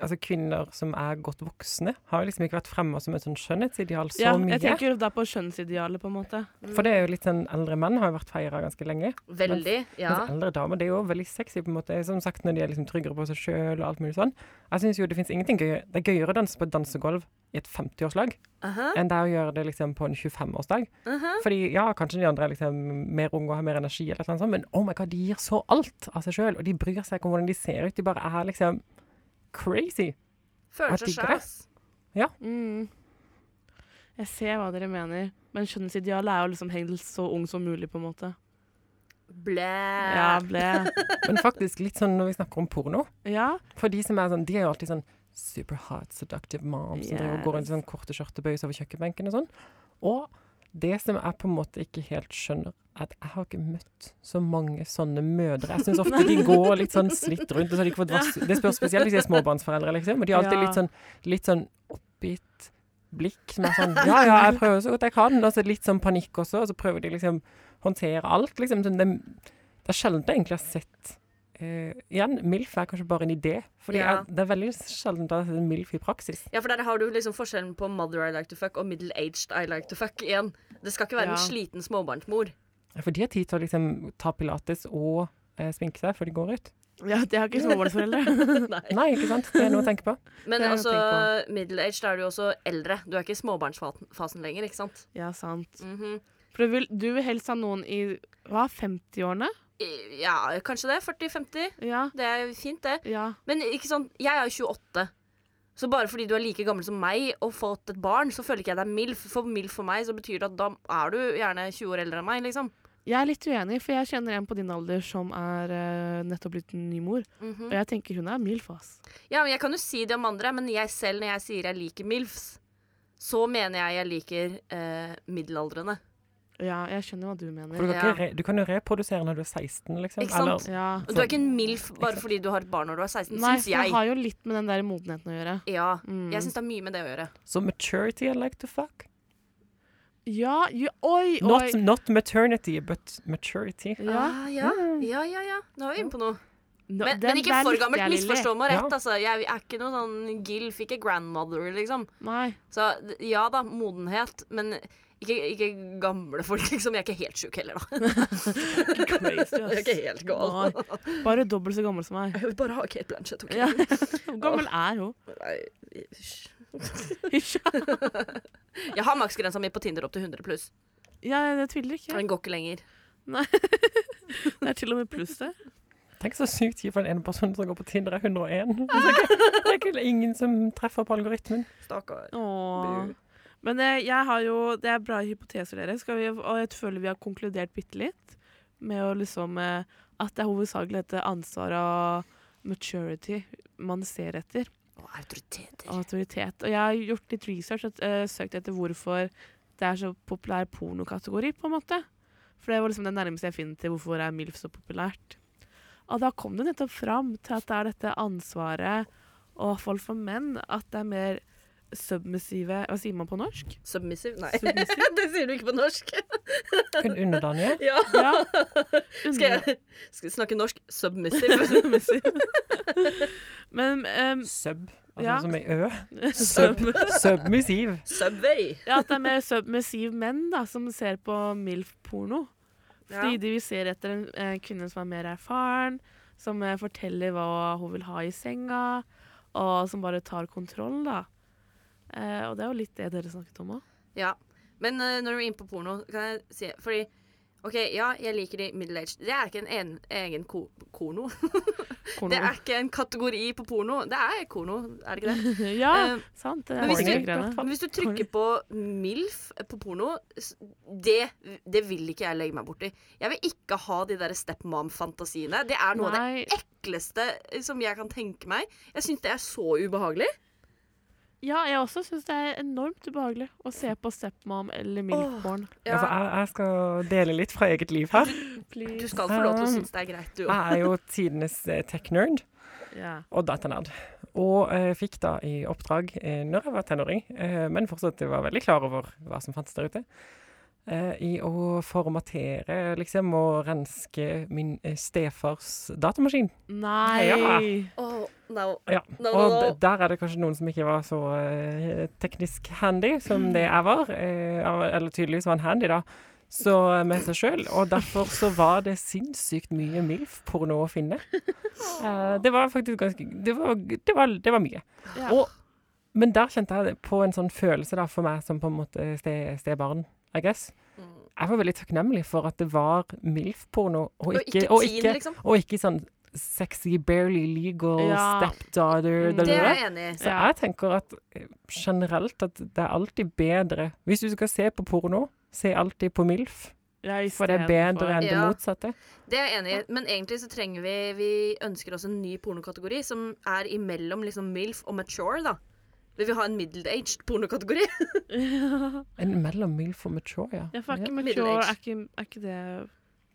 Speaker 3: altså kvinner som er godt voksne, har jo liksom ikke vært fremme som et sånn skjønnhetsideal så
Speaker 2: Ja,
Speaker 3: mye.
Speaker 2: jeg tenker da på skjønnsidealet, på en måte.
Speaker 3: For det er jo litt sånn eldre menn har jo vært feira ganske lenge.
Speaker 4: Veldig. Ja.
Speaker 3: Mens Altså, eldre damer det er jo veldig sexy, på en måte. Som sagt, når de er liksom tryggere på seg sjøl og alt mulig sånn. Jeg syns jo det fins ingenting gøyere Det er gøyere å danse på et dansegulv i et 50-årslag
Speaker 4: Aha,
Speaker 3: enn det er å gjøre det liksom på en 25-årsdag.
Speaker 4: aha.
Speaker 3: Fordi ja, kanskje de andre er liksom mer unge og har mer energi, eller noe sånt, men oh my god, de gir så alt av seg sjøl. Og de bryr seg ikke om hvordan de ser ut. De bare er liksom crazy.
Speaker 4: Føler
Speaker 3: Jeg
Speaker 4: seg
Speaker 3: digger
Speaker 4: sjæl,
Speaker 3: det.
Speaker 4: ass.
Speaker 2: Mm. Jeg ser hva dere mener, men skjønnhetsidealet er jo liksom helst så ung som mulig, på en måte.
Speaker 4: Blæ.
Speaker 2: Ja, ble.
Speaker 3: Men faktisk litt sånn når vi snakker om porno.
Speaker 2: Ja,
Speaker 3: For de som er sånn, de er jo alltid sånn super hot, seductive mom, som driver og går rundt i
Speaker 2: Yes.
Speaker 3: sånn korte skjørtebøys over kjøkkenbenken og sånn. Og det som jeg på en måte ikke helt skjønner, er at jeg har ikke møtt så mange sånne mødre. Jeg syns
Speaker 2: *laughs*
Speaker 3: ofte de går litt sånn slitt rundt, og så har de ikke fått vask. Det spørs spesielt hvis de er småbarnsforeldre, liksom. Og de har alltid
Speaker 2: Ja.
Speaker 3: litt sånn, litt sånn oppgitt blikk som er sånn Ja, ja, jeg prøver så godt jeg kan. Og så litt sånn panikk også, og så prøver de liksom håndtere alt, liksom. Sånn, det, det er sjelden jeg egentlig har sett Eh, igjen, MILF er kanskje bare en idé. Fordi
Speaker 4: Ja.
Speaker 3: jeg, Det er veldig sjelden det er MILF i praksis.
Speaker 4: Ja, for der har du liksom forskjellen på mother I like to fuck og middle aged I like to fuck igjen. Det skal ikke være en
Speaker 2: Ja.
Speaker 4: sliten småbarnsmor.
Speaker 3: For de har tid til å liksom, ta pilates og eh, sminke seg før de går ut.
Speaker 2: ja det har ikke småbarnsforeldre.
Speaker 4: Nei.
Speaker 3: Nei, ikke sant? Det er noe å
Speaker 4: *laughs*
Speaker 3: tenke på.
Speaker 4: Men
Speaker 2: Det er å
Speaker 4: altså,
Speaker 2: tenke
Speaker 4: middle aged er du jo også eldre. Du er ikke i småbarnsfasen lenger, ikke sant?
Speaker 2: Ja, sant.
Speaker 4: Mhm.
Speaker 2: For du vil, du vil helst ha noen i hva, 50-årene?
Speaker 4: I- Ja, kanskje det. 40-50.
Speaker 2: Ja.
Speaker 4: Det er fint, det.
Speaker 2: Ja.
Speaker 4: Men ikke sant, jeg er jo 28. Så bare fordi du er like gammel som meg og fått et barn, så føler ikke jeg deg MILF. For MILF for meg så betyr det at da er du gjerne 20 år eldre enn meg, liksom.
Speaker 2: Jeg er litt uenig, for jeg kjenner en på din alder som er eh, nettopp blitt en ny mor.
Speaker 4: Mhm.
Speaker 2: Og jeg tenker hun er mild, ass.
Speaker 4: Ja, men Jeg kan jo si det om andre, men jeg selv når jeg sier jeg liker MILFs, så mener jeg jeg liker eh, middelaldrende.
Speaker 2: Ja, jeg skjønner hva du
Speaker 3: For du
Speaker 2: mener.
Speaker 3: kan, ikke re, du kan jo reprodusere når du er 16, liksom.
Speaker 4: Ikke sant?
Speaker 2: Ja.
Speaker 4: Og Du er ikke en MILF bare fordi du har et barn når du er 16,
Speaker 2: Nei,
Speaker 4: syns
Speaker 2: for det
Speaker 4: jeg.
Speaker 2: har jo litt med den der modenheten å gjøre.
Speaker 4: Ja,
Speaker 2: Mm.
Speaker 4: jeg syns det har mye med det å gjøre.
Speaker 3: so maturity I like to fuck.
Speaker 2: Ja, jo, oi,
Speaker 3: Not,
Speaker 2: oi.
Speaker 3: not maternity, but maturity.
Speaker 2: Ja.
Speaker 4: Ah, ja. ja, ja, ja. Nå er vi inne på noe.
Speaker 2: Nå,
Speaker 4: Men,
Speaker 2: den
Speaker 4: men ikke
Speaker 2: der
Speaker 4: for
Speaker 2: likte
Speaker 4: gammelt.
Speaker 2: jeg, Lilly.
Speaker 4: Misforstå meg
Speaker 3: Ja.
Speaker 4: rett. Altså. Jeg er ikke noe sånn gilf, ikke grandmother, liksom.
Speaker 2: Nei.
Speaker 4: Så d- ja da, modenhet, men ikke, ikke gamle folk, liksom. Jeg er ikke helt sjuk heller, da. *laughs* Jeg er ikke helt gal.
Speaker 2: Nei. Bare dobbelt så gammel som
Speaker 4: *laughs*
Speaker 2: meg.
Speaker 4: Jeg vil bare ha Kate Blanchett, OK?
Speaker 2: Ja. Hvor gammel
Speaker 4: *laughs*
Speaker 2: er hun?
Speaker 4: Nei, hysj.
Speaker 2: Hysj.
Speaker 4: Jeg har maksgrensa mi på Tinder opp til 100 pluss.
Speaker 2: Ja, jeg tviler ikke.
Speaker 4: Den går ikke lenger.
Speaker 2: Det er til og med pluss,
Speaker 4: *laughs*
Speaker 2: det.
Speaker 3: Tenk så sykt kjipt for den ene personen som går på Tinder er 101. Så
Speaker 4: *laughs*
Speaker 3: Det er ikke- det er ikke ingen som treffer på algoritmen.
Speaker 4: Stakkar.
Speaker 2: Åh. Men eh, jeg har jo Det er bra hypoteser, dere. Skal vi, og jeg føler vi har konkludert bitte litt med å liksom eh, At det er hovedsakelig dette ansvaret og maturity man ser etter.
Speaker 4: Og autoriteter.
Speaker 2: og Autoritet. Og jeg har gjort litt research og eh, søkt etter hvorfor det er så populær pornokategori, på en måte. For det var liksom det nærmeste jeg finner til hvorfor er MILF så populært. Og da kom det nettopp fram til at det er dette ansvaret og folk for menn at det er mer submissive Hva sier man på norsk?
Speaker 4: Submissive? Nei, *laughs* det sier du ikke på norsk.
Speaker 3: Kun underdanige.
Speaker 4: Ja.
Speaker 2: Ja.
Speaker 4: Skal jeg skal jeg snakke norsk? Submissive.
Speaker 2: *laughs* Men ehm,
Speaker 3: Sub, altså
Speaker 2: Ja.
Speaker 3: som i ø.
Speaker 2: sub.
Speaker 3: Submissiv.
Speaker 4: Subway.
Speaker 2: Ja, at det er mer submissive menn da, som ser på MILF-porno. Fordi
Speaker 4: Ja.
Speaker 2: de vil se etter en, en kvinne som er mer erfaren, som eh, forteller hva hun vil ha i senga, og som bare tar kontroll, da. Eh, og det er jo litt det dere snakket om òg.
Speaker 4: Ja. Men eh, når du er inne på porno, kan jeg si Fordi OK, ja, jeg liker de middle aged. Det er ikke en, en egen ko korno. Det er ikke en kategori på porno. Det er korno, er det ikke det?
Speaker 2: *laughs* ja,
Speaker 4: Eh,
Speaker 2: sant. Det
Speaker 4: men
Speaker 2: er
Speaker 4: hvis du-
Speaker 2: pornogreiene.
Speaker 4: Men hvis du trykker på MILF eh, på porno, s- det, det vil ikke jeg legge meg borti. Jeg vil ikke ha de der stepmom-fantasiene. Det er noe av
Speaker 2: Nei,
Speaker 4: det ekleste eh, som jeg kan tenke meg. Jeg syns det er så ubehagelig.
Speaker 2: ja, jeg også syns det er enormt ubehagelig å se på stepmom eller MILF-porn.
Speaker 3: Ja, for jeg, jeg skal dele litt fra eget liv her.
Speaker 4: Du skal få lov til å synes det er greit, du òg.
Speaker 3: Jeg er jo tidenes eh, tech-nerd
Speaker 2: Ja.
Speaker 3: og datanerd. Og eh, fikk da i oppdrag uh, når jeg var tenåring, eh, men fortsatt var veldig klar over hva som fantes der ute, eh, i å formatere liksom og renske min eh, stefars datamaskin.
Speaker 2: Nei!
Speaker 3: Ja.
Speaker 4: Å, No.
Speaker 3: Ja.
Speaker 4: No,
Speaker 3: og
Speaker 4: no, no.
Speaker 3: d- der er det kanskje noen som ikke var så eh, teknisk handy som det jeg var. eh, av- eller tydeligvis var han handy, da. Så eh, med seg sjøl. Og derfor så var det sinnssykt mye MILF-porno å finne. Eh, det var faktisk ganske Det var, det var, det var mye.
Speaker 2: Ja.
Speaker 3: Og, men der kjente jeg på en sånn følelse da, for meg som på en måte ste- stebarn, I guess. Jeg var veldig takknemlig for at det var MILF-porno, og
Speaker 4: Og
Speaker 3: ikke,
Speaker 4: ikke
Speaker 3: og
Speaker 4: teen,
Speaker 3: ikke,
Speaker 4: liksom.
Speaker 3: og ikke sånn sexy, barely legal,
Speaker 2: Ja.
Speaker 3: stepdaughter da,
Speaker 4: Det
Speaker 3: da,
Speaker 4: er
Speaker 3: da.
Speaker 4: jeg enig i.
Speaker 3: Så
Speaker 2: Ja.
Speaker 3: jeg tenker at eh, generelt at det er alltid bedre Hvis du skal se på porno, se alltid på MILF,
Speaker 2: Ja, i
Speaker 3: for det er
Speaker 2: stedet
Speaker 3: bedre enn det
Speaker 4: Ja.
Speaker 3: motsatte.
Speaker 4: Det er jeg enig i, men egentlig så trenger vi Vi ønsker oss en ny pornokategori som er imellom liksom MILF og mature, da. Vi vil ha en middle-aged pornokategori.
Speaker 2: *laughs*
Speaker 3: En mellom MILF og mature, ja.
Speaker 2: Ja, for er
Speaker 3: Ja.
Speaker 2: ikke mature
Speaker 4: Middle-aged.
Speaker 2: er ikke, er ikke det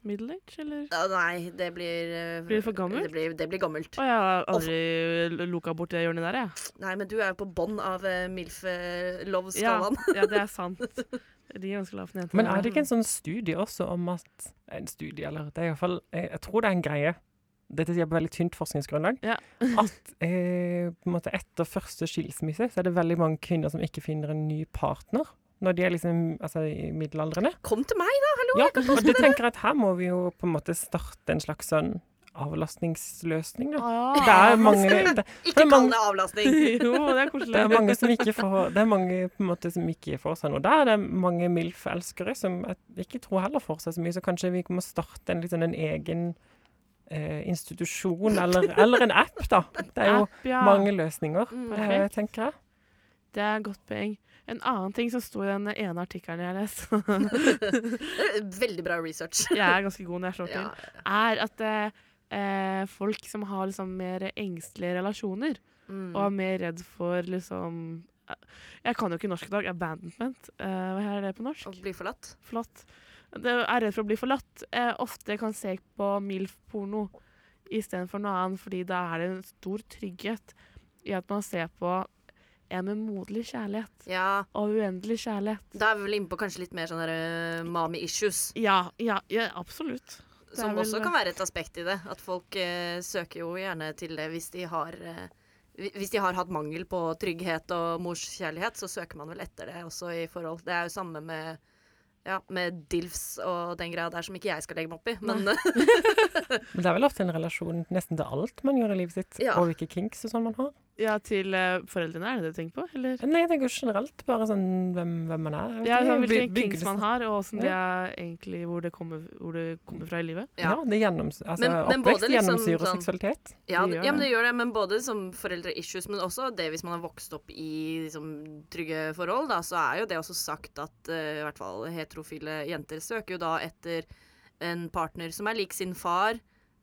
Speaker 2: middle age, eller?
Speaker 4: Ja, nei, det blir eh,
Speaker 2: Blir det for gammelt?
Speaker 4: Det blir, det blir gammelt.
Speaker 2: Å, jeg har aldri l- loka bort det hjørnet der, jeg.
Speaker 4: Nei, men du er jo på bånn av eh, MILF-love-skalaen.
Speaker 2: ja, det er sant. De er ganske lavt jenter.
Speaker 3: Men er det ikke en sånn studie også om at En studie, eller det er iallfall eh, jeg, jeg tror det er en greie. Dette sier på veldig tynt forskningsgrunnlag.
Speaker 2: Ja.
Speaker 3: *laughs* at eh, på en måte etter første skilsmisse så er det veldig mange kvinner som ikke finner en ny partner. Når de er liksom, altså, i middelaldrende.
Speaker 4: Kom til meg, da!
Speaker 3: Ja, og det tenker jeg at her må vi jo på en måte starte en slags sånn avlastningsløsning, da. Det er mange, det,
Speaker 4: Ikke
Speaker 3: Men man-
Speaker 4: kall det avlastning!
Speaker 2: *laughs* Jo, det er
Speaker 3: det
Speaker 2: koselig.
Speaker 3: er mange som ikke får Det er mange på en måte som ikke får seg noe. Der er det mange MILF-elskere som jeg ikke tror heller får seg så mye, så kanskje vi må starte en, litt sånn en egen eh, institusjon, eller, eller en app, da. Det er jo
Speaker 2: App, ja.
Speaker 3: mange løsninger,
Speaker 4: Mm,
Speaker 3: eh,
Speaker 2: perfekt.
Speaker 3: tenker jeg.
Speaker 2: Det er et godt poeng. En annen ting som sto i den ene artikkelen jeg leste, *laughs*
Speaker 4: Det er Eh, Veldig bra research.
Speaker 2: jeg er ganske god når jeg slår til,
Speaker 4: Ja.
Speaker 2: er at eh, eh, folk som har liksom mer engstelige relasjoner,
Speaker 4: Mm.
Speaker 2: og er mer redd for liksom Jeg kan jo ikke norsk i dag. Abandonment. Eh, hva er det på norsk?
Speaker 4: Og bli forlatt.
Speaker 2: Forlatt. Det er redd for å bli forlatt. Eh, ofte kan se på MILF-porno istedenfor noe annet, fordi da er det en stor trygghet i at man ser på en med moderlig kjærlighet
Speaker 4: Ja,
Speaker 2: og uendelig kjærlighet.
Speaker 4: da er vi vel inne på kanskje litt mer sånne der, eh, mommy issues.
Speaker 2: Ja, ja, ja absolutt. Det er
Speaker 4: Som
Speaker 2: vel-
Speaker 4: også kan være et aspekt i det. At folk eh, søker jo gjerne til det hvis de har eh, hvi- hvis de har hatt mangel på trygghet og morskjærlighet, så søker man vel etter det også i forhold. Det er jo samme med, ja, med DILFs og den greia der som ikke jeg skal legge meg opp i. Men
Speaker 3: Men det er vel ofte en relasjon nesten til alt man gjør i livet sitt,
Speaker 4: Ja.
Speaker 3: og hvilke kinks og sånn man har.
Speaker 2: Ja, til eh, foreldrene, er det det du tenker på? Eller?
Speaker 3: Nei, jeg tenker jo generelt bare sånn hvem, hvem man er. jeg vet
Speaker 2: Ja,
Speaker 3: ikke,
Speaker 2: sånn,
Speaker 3: by-
Speaker 2: hvilke kinks
Speaker 3: byggelsen.
Speaker 2: man har, og hvordan de er egentlig, hvor det kommer, hvor det kommer fra i livet.
Speaker 4: Ja.
Speaker 3: Ja, det gjennoms, altså,
Speaker 4: Men- men både
Speaker 3: oppvekst
Speaker 4: liksom
Speaker 3: gjennomsyrer
Speaker 4: sånn-
Speaker 3: seksualitet.
Speaker 4: Ja,
Speaker 2: Det
Speaker 4: det,
Speaker 2: gjør
Speaker 4: ja, men
Speaker 2: det.
Speaker 4: det gjør det. Men både som foreldre-issues, men også det hvis man har vokst opp i liksom, trygge forhold, da, så er jo det også sagt at eh, i hvert fall heterofile jenter søker jo da etter en partner som er lik sin far.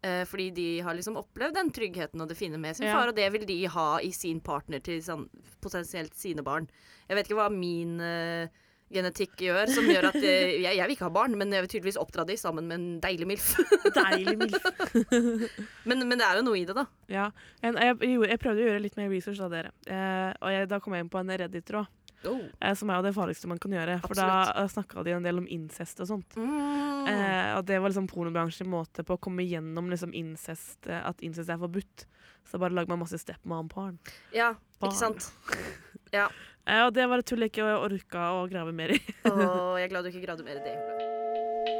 Speaker 4: eh, fordi de har liksom opplevd den tryggheten og det fine med sin
Speaker 2: Ja.
Speaker 4: far, og det vil de ha i sin partner til sånn, potensielt sine barn. Jeg vet ikke hva min eh, genetikk gjør, som gjør at eh,
Speaker 2: *laughs*
Speaker 4: jeg, jeg vil ikke ha barn, men jeg vil tydeligvis oppdra de sammen med en deilig MILF. *laughs*
Speaker 2: Deilig MILF.
Speaker 4: men, men det er jo noe i det, da.
Speaker 2: Ja. En, jeg, gjorde- jeg prøvde å gjøre litt mer research da, dere. Eh, og jeg, da kom jeg inn på en Reddit-tråd, eh, som er jo det farligste man kan gjøre. For da snakka de en del om incest og sånt.
Speaker 4: Mm.
Speaker 2: Eh, og det var liksom pornobransjens måte på å komme gjennom liksom incest, eh, at incest er forbudt. Så bare lager man masse stepmom-porn.
Speaker 4: Ja,
Speaker 2: Barn.
Speaker 4: ikke sant?
Speaker 2: Eh, og det var et tull jeg ikke orka å grave mer i.
Speaker 4: Og jeg er glad du ikke gravde mer i det.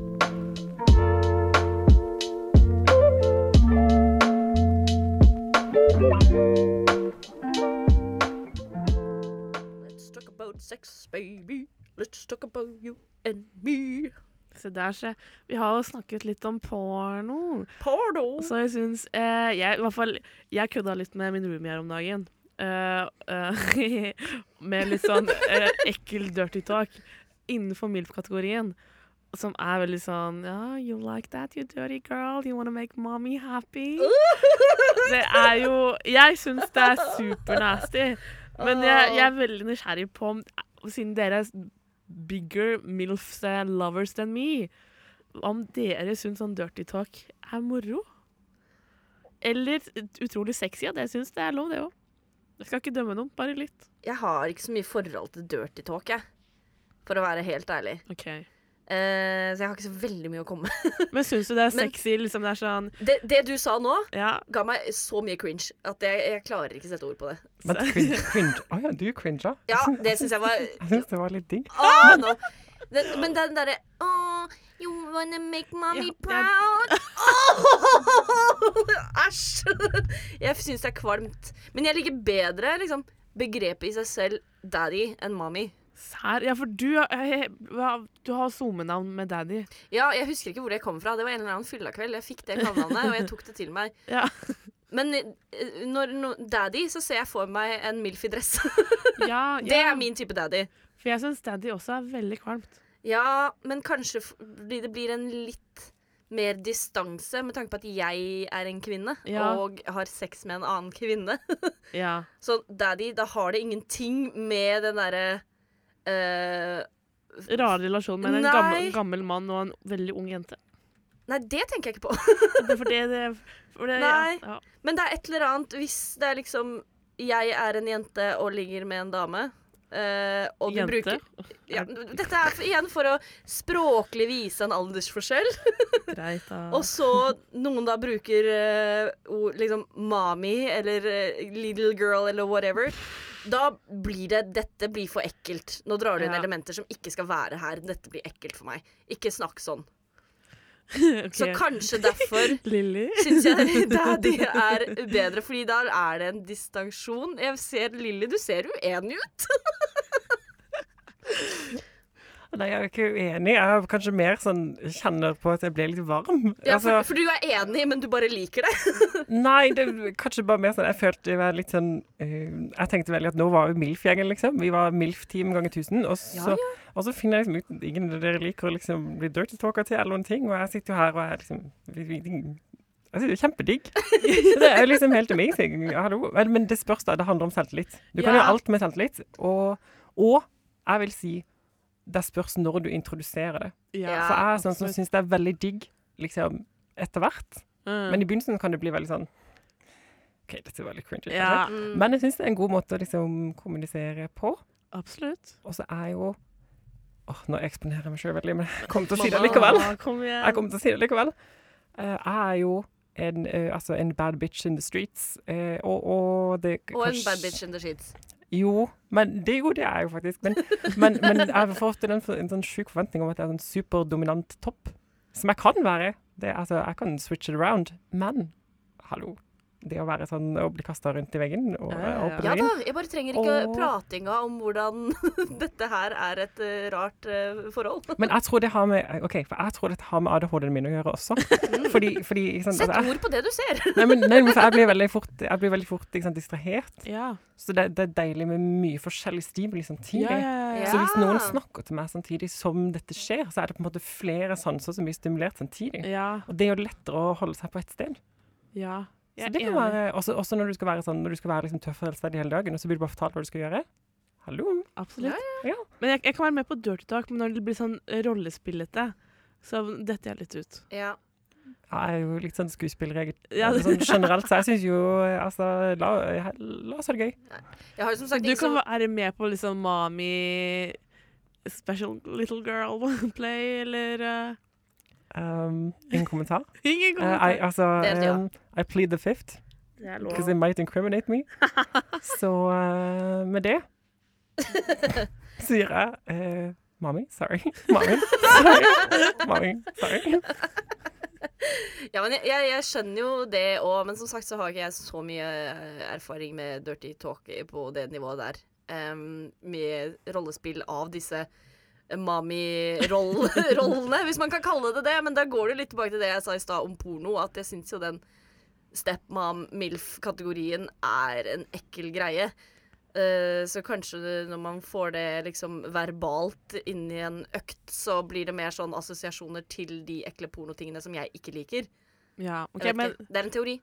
Speaker 4: Let's talk about sex, baby. Let's talk about you and me.
Speaker 2: Se der, se. Vi har jo snakket litt om porno.
Speaker 4: Pardo!
Speaker 2: Så jeg syns eh, jeg, i hvert fall, jeg kødda litt med min roomie her om dagen. Eh, eh, *laughs* med litt sånn eh, ekkel dirty talk innenfor MILF-kategorien. Som er veldig sånn Ja, you like that, you dirty girl. You wanna make mommy happy. Det er jo Jeg syns det er supernasty. Men jeg, jeg er veldig nysgjerrig på om Siden dere er bigger milfs and lovers than me, om dere syns sånn dirty talk er moro? Eller utrolig sexy. Ja, det syns det er lov, det òg. Jeg skal ikke dømme noen, bare litt.
Speaker 4: Jeg har ikke så mye forhold til dirty talk, jeg. For å være helt ærlig.
Speaker 2: Ok.
Speaker 4: Eh, så jeg har ikke så veldig mye å komme med.
Speaker 2: *laughs* Men syns du det er
Speaker 4: Men-
Speaker 2: sexy? liksom det er sånn,
Speaker 4: Det, det du sa nå,
Speaker 2: ja,
Speaker 4: ga meg så mye cringe at jeg, jeg klarer ikke å sette ord på det.
Speaker 3: Men cringe,
Speaker 4: *laughs*
Speaker 3: cringe. Å ja, du cringa?
Speaker 4: Ja, det syns jeg var
Speaker 3: Jeg syns det var litt digg.
Speaker 4: Åh, nå. Den, men den derre Åh, you wanna make mommy
Speaker 2: Ja, jeg-
Speaker 4: proud? Åh, *laughs* Æsj! Jeg syns det er kvalmt. Men jeg liker bedre liksom, begrepet i seg selv daddy enn mommy.
Speaker 2: sær? Ja, for du, er- eh, hva- du har SoMe-navn med daddy.
Speaker 4: Ja, jeg husker ikke hvor det kom fra. Det var en eller annen fyllakveld. Jeg fikk det kallenavnet, og jeg tok det til meg.
Speaker 2: Ja.
Speaker 4: Men eh, når no, daddy, så ser jeg for meg en Milf i dress.
Speaker 2: *laughs*
Speaker 4: *laughs*
Speaker 2: Ja,
Speaker 4: Det
Speaker 2: ja.
Speaker 4: er min type daddy.
Speaker 2: For jeg syns daddy også er veldig kvalmt.
Speaker 4: Ja, men kanskje f- fordi det blir en litt mer distanse med tanke på at jeg er en kvinne
Speaker 2: Ja.
Speaker 4: og har sex med en annen kvinne. *laughs*
Speaker 2: Ja.
Speaker 4: Så daddy, da har det ingenting med den derre eh,
Speaker 2: Rar relasjon med en
Speaker 4: Nei.
Speaker 2: gammel, gammel mann og en veldig ung jente.
Speaker 4: Nei, det tenker jeg ikke på. *laughs*
Speaker 2: Det er for det, det, for det
Speaker 4: Nei.
Speaker 2: Ja, ja.
Speaker 4: Men det er et eller annet hvis det er liksom Jeg er en jente og ligger med en dame. eh, og du
Speaker 2: Jente.
Speaker 4: bruker ja, Dette er for, igjen for å språklig vise en aldersforskjell.
Speaker 2: Greit, da.
Speaker 4: Og så noen da bruker eh, ord liksom mami eller eh, little girl eller whatever. Da blir det Dette blir for ekkelt. Nå drar du inn
Speaker 2: Ja.
Speaker 4: elementer som ikke skal være her. Dette blir ekkelt for meg. Ikke snakk sånn.
Speaker 2: Ok.
Speaker 4: Så kanskje derfor
Speaker 2: Lilly?
Speaker 4: syns jeg *laughs* daddy er bedre, fordi da er det en distansjon. Jeg ser Lilly, du ser uenig ut.
Speaker 3: Nei, jeg er ikke uenig. Jeg er kanskje mer sånn kjenner på at jeg blir litt varm.
Speaker 4: Ja, for,
Speaker 3: Altså,
Speaker 4: for du er enig, men du bare liker det.
Speaker 3: nei, det er kanskje bare mer sånn Jeg følte jeg var litt sånn eh, Jeg tenkte veldig at nå var vi MILF-gjengen, liksom. Vi var MILF-team ganger 1000. Og så, og så finner jeg liksom ut at ingen av dere liker å liksom bli dirty talka til eller noen ting. Og jeg sitter jo her og er liksom vi- vi- Jeg synes det er kjempedigg. Det er jo liksom helt amazing. Hallo. Vel, Men det spørs, da. Det handler om selvtillit. Du kan
Speaker 2: Ja.
Speaker 3: gjøre alt med selvtillit. Og, og jeg vil si det spørs når du introduserer det.
Speaker 4: Ja,
Speaker 3: Så jeg er sånn som syns det er veldig digg liksom, etter hvert.
Speaker 4: Mm.
Speaker 2: Mm.
Speaker 3: Men i begynnelsen kan det bli veldig sånn OK, dette er veldig cringy. kanskje.
Speaker 2: Ja,
Speaker 3: Men jeg syns det er en god måte å liksom, kommunisere på.
Speaker 2: absolutt.
Speaker 3: Og så er jo Åh, Nå eksponerer jeg meg sjøl veldig, men jeg kommer til å si det likevel.
Speaker 2: Mamma, kom igjen.
Speaker 3: Jeg kommer til å si det likevel. Eh, Jeg er jo en, eh, altså en bad bitch in the streets, eh, og, og det
Speaker 4: Og en
Speaker 3: kanskje-
Speaker 4: bad bitch in the sheets.
Speaker 3: Jo, men det, jo, det er jeg jo faktisk. Men, men, men jeg har fått en, en sånn sjuk forventning om at jeg er en superdominant topp. Som jeg kan være. Det, er- altså, jeg kan switch it around. Men hallo. Det å være sånn å bli kasta rundt i veggen og
Speaker 2: Ja, ja, ja.
Speaker 3: eh, opp
Speaker 4: Ja
Speaker 3: eller
Speaker 4: da,
Speaker 3: inn.
Speaker 4: jeg bare trenger ikke
Speaker 3: Åh.
Speaker 4: pratinga om hvordan *laughs* dette her er et eh, rart eh, forhold.
Speaker 3: Men jeg tror det har med OK, for jeg tror dette har med ADHD-en min å gjøre også.
Speaker 2: Mm.
Speaker 3: Fordi, fordi ikke sant,
Speaker 4: Sett
Speaker 3: altså, jeg,
Speaker 4: ord på det du ser. *laughs*
Speaker 3: nei, men, nei, men for jeg blir veldig fort, jeg blir veldig fort ikke sant, distrahert.
Speaker 2: Ja.
Speaker 3: Så det, det er deilig med mye forskjellig stimuli samtidig.
Speaker 2: Ja, ja, ja, ja.
Speaker 3: Så hvis
Speaker 4: Ja.
Speaker 3: noen snakker til meg samtidig som dette skjer, så er det på en måte flere sanser som blir stimulert samtidig.
Speaker 2: ja,
Speaker 3: Og det er jo lettere å holde seg på ett sted.
Speaker 2: ja.
Speaker 3: Så
Speaker 2: Jeg
Speaker 3: det
Speaker 2: er
Speaker 3: kan
Speaker 2: enig.
Speaker 3: være, også, også når du skal være, sånn, når du skal være liksom tøff og rettferdig hele dagen, og så blir du bare fortalt hva du skal gjøre. Hallo.
Speaker 2: Absolutt.
Speaker 3: ja.
Speaker 2: Men jeg, jeg kan være med på dirty talk, men når det blir sånn rollespillete, så detter jeg litt ut.
Speaker 4: Ja.
Speaker 3: Jeg er jo litt sånn skuespillerregel
Speaker 2: Ja.
Speaker 3: sånn generelt, så jeg syns jo eh, Altså, la, eh, la oss ha det gøy.
Speaker 4: Jeg har jo som sagt
Speaker 2: *laughs* Du
Speaker 4: ikke
Speaker 2: kan
Speaker 4: så
Speaker 2: være med på liksom Mami Special little girl *laughs* play, eller eh,
Speaker 3: Um, ingen
Speaker 4: *laughs*
Speaker 3: kommentar.
Speaker 2: Ingen
Speaker 3: Eh, I,
Speaker 2: kommentar.
Speaker 3: altså,
Speaker 4: Det er det, ja.
Speaker 3: um, I plead the fifth,
Speaker 2: Det er
Speaker 3: because it might incriminate
Speaker 4: *laughs*
Speaker 3: me. Så eh, med det sier jeg eh, Mommy, sorry. *laughs* Mommy, sorry. Mommy, sorry.
Speaker 4: Ja, men jeg, jeg, jeg skjønner jo det òg, men som sagt så har ikke jeg så mye eh, erfaring med dirty talk på det nivået der. Em, med rollespill av disse mami-rollene, hvis man kan kalle det det. Men da går det litt tilbake til det jeg sa i stad om porno, at jeg syns jo den stepmom-milf-kategorien er en ekkel greie. Eh, så kanskje det- når man får det liksom verbalt inn i en økt, så blir det mer sånn assosiasjoner til de ekle pornotingene som jeg ikke liker.
Speaker 2: Ja, ok,
Speaker 4: Jeg vet
Speaker 2: men
Speaker 4: ikke. Det er en teori.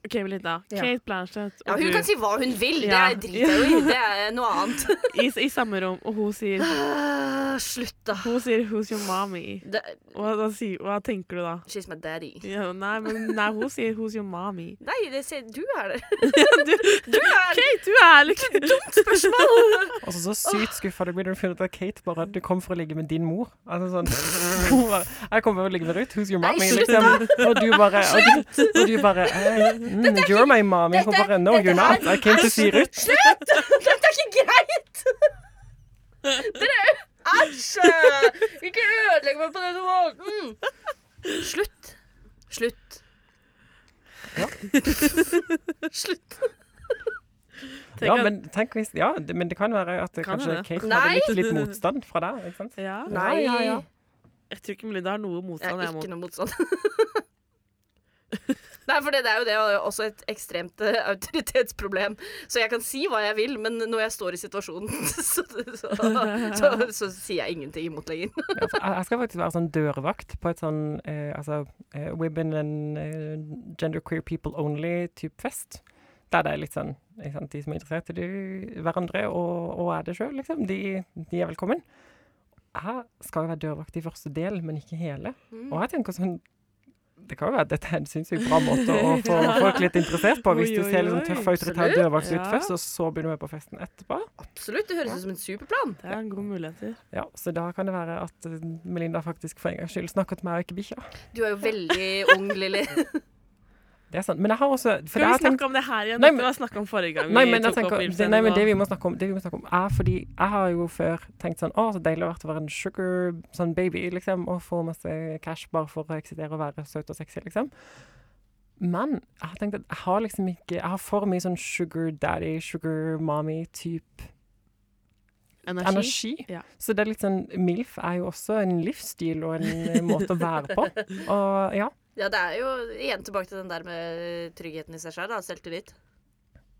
Speaker 2: OK, Melinda.
Speaker 4: Ja.
Speaker 2: Kate Blanchett
Speaker 4: Ja,
Speaker 2: og
Speaker 4: hun
Speaker 2: du
Speaker 4: kan si hva hun vil. Det
Speaker 2: Ja.
Speaker 4: er driter jeg jo i. Det er noe annet.
Speaker 2: i, i samme rom, og hun sier
Speaker 4: Ah, Slutt, da.
Speaker 2: Hun sier 'Who's your mommy?'
Speaker 4: Det,
Speaker 2: Hva, da sier, hva tenker du da?
Speaker 4: she's my daddy.
Speaker 2: Ja, nei, men nei, hun sier 'Who's your mommy?'
Speaker 4: Nei, det ser, du er det. Du er
Speaker 2: Kate, du er liksom
Speaker 3: Og så så sykt skuffa du blir når du finner ut at Kate bare Du kom for å ligge med din mor. Altså sånn hun bare, Jeg kom for å ligge med Ruth. Who's your
Speaker 4: Nei,
Speaker 3: mommy?
Speaker 4: slutt
Speaker 3: Og du bare Og du, og du bare eh, mm, You're my mommy. Hun
Speaker 4: dette-
Speaker 3: bare No,
Speaker 4: dette
Speaker 3: you're not.
Speaker 4: her
Speaker 3: I came
Speaker 4: er
Speaker 3: to see Ruth.
Speaker 4: Slutt! *laughs* Dette er ikke greit! Dere Æsj! Ikke ødelegg meg på den måten! Slutt. Slutt.
Speaker 3: Ja.
Speaker 4: Slutt.
Speaker 3: Ja, men tenk hvis Ja, det, men det kan være at
Speaker 2: Kan
Speaker 3: kanskje
Speaker 2: hende.
Speaker 3: Kate
Speaker 4: Nei.
Speaker 3: hadde litt, litt motstand fra deg. Ikke sant?
Speaker 2: Ja.
Speaker 4: Nei.
Speaker 3: Ja, ja, ja.
Speaker 2: Jeg tror ikke Melinda har noe
Speaker 4: Jeg
Speaker 2: motstand.
Speaker 4: Sånn er
Speaker 2: Jeg mot.
Speaker 4: ikke noe motstand. *laughs* Nei, for det, det er jo det og også et ekstremt eh, autoritetsproblem. Så jeg kan si hva jeg vil, men når jeg står i situasjonen, *laughs* så, så, så, så sier jeg ingenting imot lenger.
Speaker 3: Ja, for Jeg jeg skal faktisk være sånn dørvakt på et sånn eh, altså, eh, Women and eh, genderqueer people only-type fest. Der det er litt sånn ikke sant, De som er interessert i de- hverandre og, og er det sjøl, liksom, de, de er velkommen. Jeg skal jo være dørvakt i første del, men ikke hele.
Speaker 2: Mm.
Speaker 3: Og jeg tenker sånn det kan jo være at dette er en sinnssykt bra måte å
Speaker 2: *laughs*
Speaker 3: få folk litt interessert på, hvis du
Speaker 2: Oi, oi,
Speaker 3: ser litt sånn
Speaker 2: oi.
Speaker 3: tøff og autoritær
Speaker 4: Absolutt.
Speaker 3: dørvakt ut
Speaker 2: Ja.
Speaker 3: først, og så begynner vi på festen etterpå.
Speaker 4: Absolutt, det høres ut som en superplan.
Speaker 2: Det er en god mulighet.
Speaker 3: Ja, Så da kan det være at eh, Melinda faktisk for en gangs skyld snakker til meg og ikke bikkja.
Speaker 4: Du er jo veldig ung, Lilly.
Speaker 3: Det er sant. Men jeg har også for jeg
Speaker 2: Skal vi
Speaker 3: har tenkt-
Speaker 2: snakke om det her igjen?
Speaker 3: Nei,
Speaker 2: Dette
Speaker 3: men-
Speaker 2: var snakk om forrige gang.
Speaker 3: Nei,
Speaker 2: vi
Speaker 3: men, jeg
Speaker 2: tok opp
Speaker 3: tenker, det,
Speaker 2: Ilsen,
Speaker 3: nei, men
Speaker 2: og-
Speaker 3: det vi må snakke om, det vi må snakke om er fordi jeg har jo før tenkt sånn Å, så deilig å være å være en sugar sånn baby, liksom, og få masse cash bare for å eksistere og være søt og sexy, liksom. Men jeg har tenkt at jeg har liksom ikke Jeg har for mye sånn sugar daddy, sugar mommy-type
Speaker 2: energi.
Speaker 3: energi.
Speaker 2: Ja.
Speaker 3: Så det er litt sånn MILF er jo også en livsstil og en eh, måte å være på. Og ja.
Speaker 4: Ja, det er jo igjen tilbake til den der med tryggheten i seg sjøl, da. Selvtillit.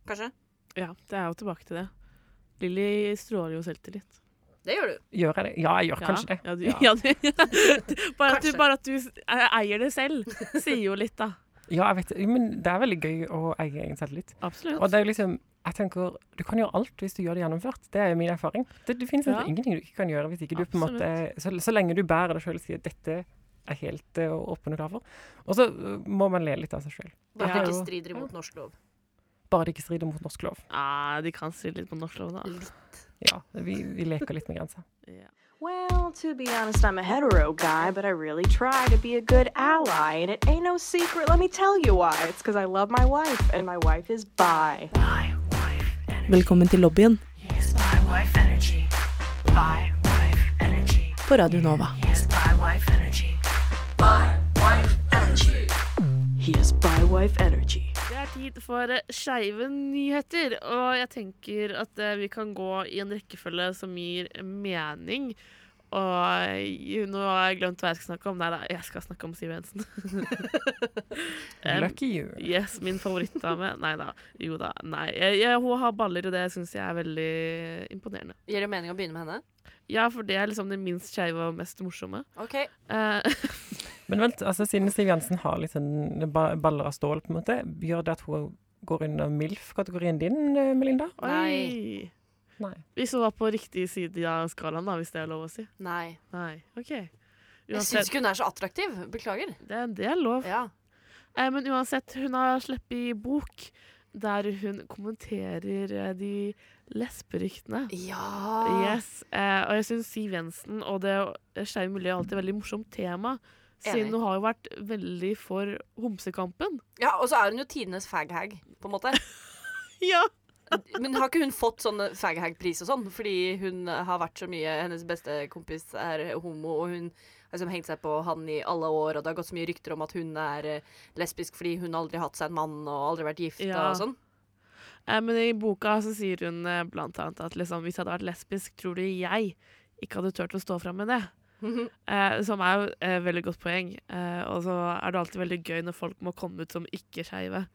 Speaker 4: Kanskje.
Speaker 2: Ja, det er jo tilbake til det. Lilly stråler jo selvtillit.
Speaker 4: Det gjør du.
Speaker 3: Gjør jeg det? Ja, jeg gjør
Speaker 2: Ja,
Speaker 3: kanskje det.
Speaker 2: Ja, du, *laughs* ja. du, bare, at du,
Speaker 4: Kanskje.
Speaker 2: bare at du s- eier det selv, sier jo litt, da.
Speaker 3: Ja, jeg vet det. Men det er veldig gøy å eie egen selvtillit.
Speaker 2: Absolutt.
Speaker 3: Og det er jo liksom jeg tenker, Du kan gjøre alt hvis du gjør det gjennomført. Det er jo min erfaring. Det, det finnes
Speaker 2: Ja.
Speaker 3: ingenting du ikke kan gjøre hvis ikke du på en måte så, så lenge du bærer deg sjøl og sier dette er helt eh, åpen og klar for. Og så eh, må man le litt av seg sjøl.
Speaker 4: Bare
Speaker 2: Ja.
Speaker 4: at det ikke strider imot norsk lov.
Speaker 3: Bare det ikke strider mot norsk lov.
Speaker 2: Ah, de kan si litt på norsk lov, da.
Speaker 3: Ja, vi, vi leker litt med grensa.
Speaker 2: Ja.
Speaker 6: Well, to be honest, I'm a hetero guy, but I really try to be a good ally, and it ain't no secret. Let me tell you why. It's because I love my wife, and my wife is bi.
Speaker 1: Velkommen til lobbyen
Speaker 6: Yes, bi wife energy. Bi wife energy.
Speaker 1: på Radio Nova.
Speaker 6: Yes, bi wife energy. Bi wife energy. He is bi wife energy.
Speaker 2: Det er tid for eh, skeive nyheter, og jeg tenker at eh, vi kan gå i en rekkefølge som gir mening. Og eh, nå har jeg glemt hva jeg skal snakke om. Nei da, jeg skal snakke om Siv
Speaker 3: *laughs*
Speaker 2: Jensen. Em,
Speaker 3: Lucky you.
Speaker 2: yes, min favorittdame. Nei da. Jo da. Nei. Jeg, jeg, hun har baller, og det syns jeg er veldig imponerende.
Speaker 4: Gir det mening å begynne med henne?
Speaker 2: Ja, for det er liksom det minst skeive og mest morsomme.
Speaker 4: OK.
Speaker 2: Eh, *laughs*
Speaker 3: Men vent, altså siden Siv Jensen har litt sånn ba- baller av stål, på en måte, gjør det at hun går under MILF-kategorien din, eh, Melinda?
Speaker 4: Nei.
Speaker 2: oi.
Speaker 3: Nei.
Speaker 2: Hvis hun var på riktig side av skalaen, da, hvis det er lov å si.
Speaker 4: Nei.
Speaker 2: Nei. OK.
Speaker 4: Jeg
Speaker 2: Uansett-
Speaker 4: syns ikke hun er så attraktiv. Beklager.
Speaker 2: Det, er- det er lov.
Speaker 4: Ja.
Speaker 2: Eh, men uansett, hun har sluppet bok der hun kommenterer eh, de lesberyktene.
Speaker 4: Ja.
Speaker 2: Yes. Eh, og jeg syns Siv Jensen og det skeive miljøet er alltid et veldig morsomt tema.
Speaker 4: Enig.
Speaker 2: Siden hun har jo vært veldig for homsekampen.
Speaker 4: ja og så er hun jo tidenes faghag, på en måte.
Speaker 2: Ja!
Speaker 4: Men har ikke hun fått sånn faghag-pris og sånn? Fordi hun har vært så mye Hennes beste kompis er homo, og hun har liksom hengt seg på han i alle år, og det har gått så mye rykter om at hun er eh, lesbisk fordi hun aldri har hatt seg en mann og aldri vært gift
Speaker 2: Ja.
Speaker 4: og sånn.
Speaker 2: Eh, men i boka så sier hun eh, blant annet at liksom, hvis jeg hadde vært lesbisk, tror du jeg ikke hadde turt å stå fram
Speaker 4: *laughs*
Speaker 2: med det? Eh, som er jo et veldig godt poeng. Eh, og så er det alltid veldig gøy når folk må komme ut som ikke-skeive.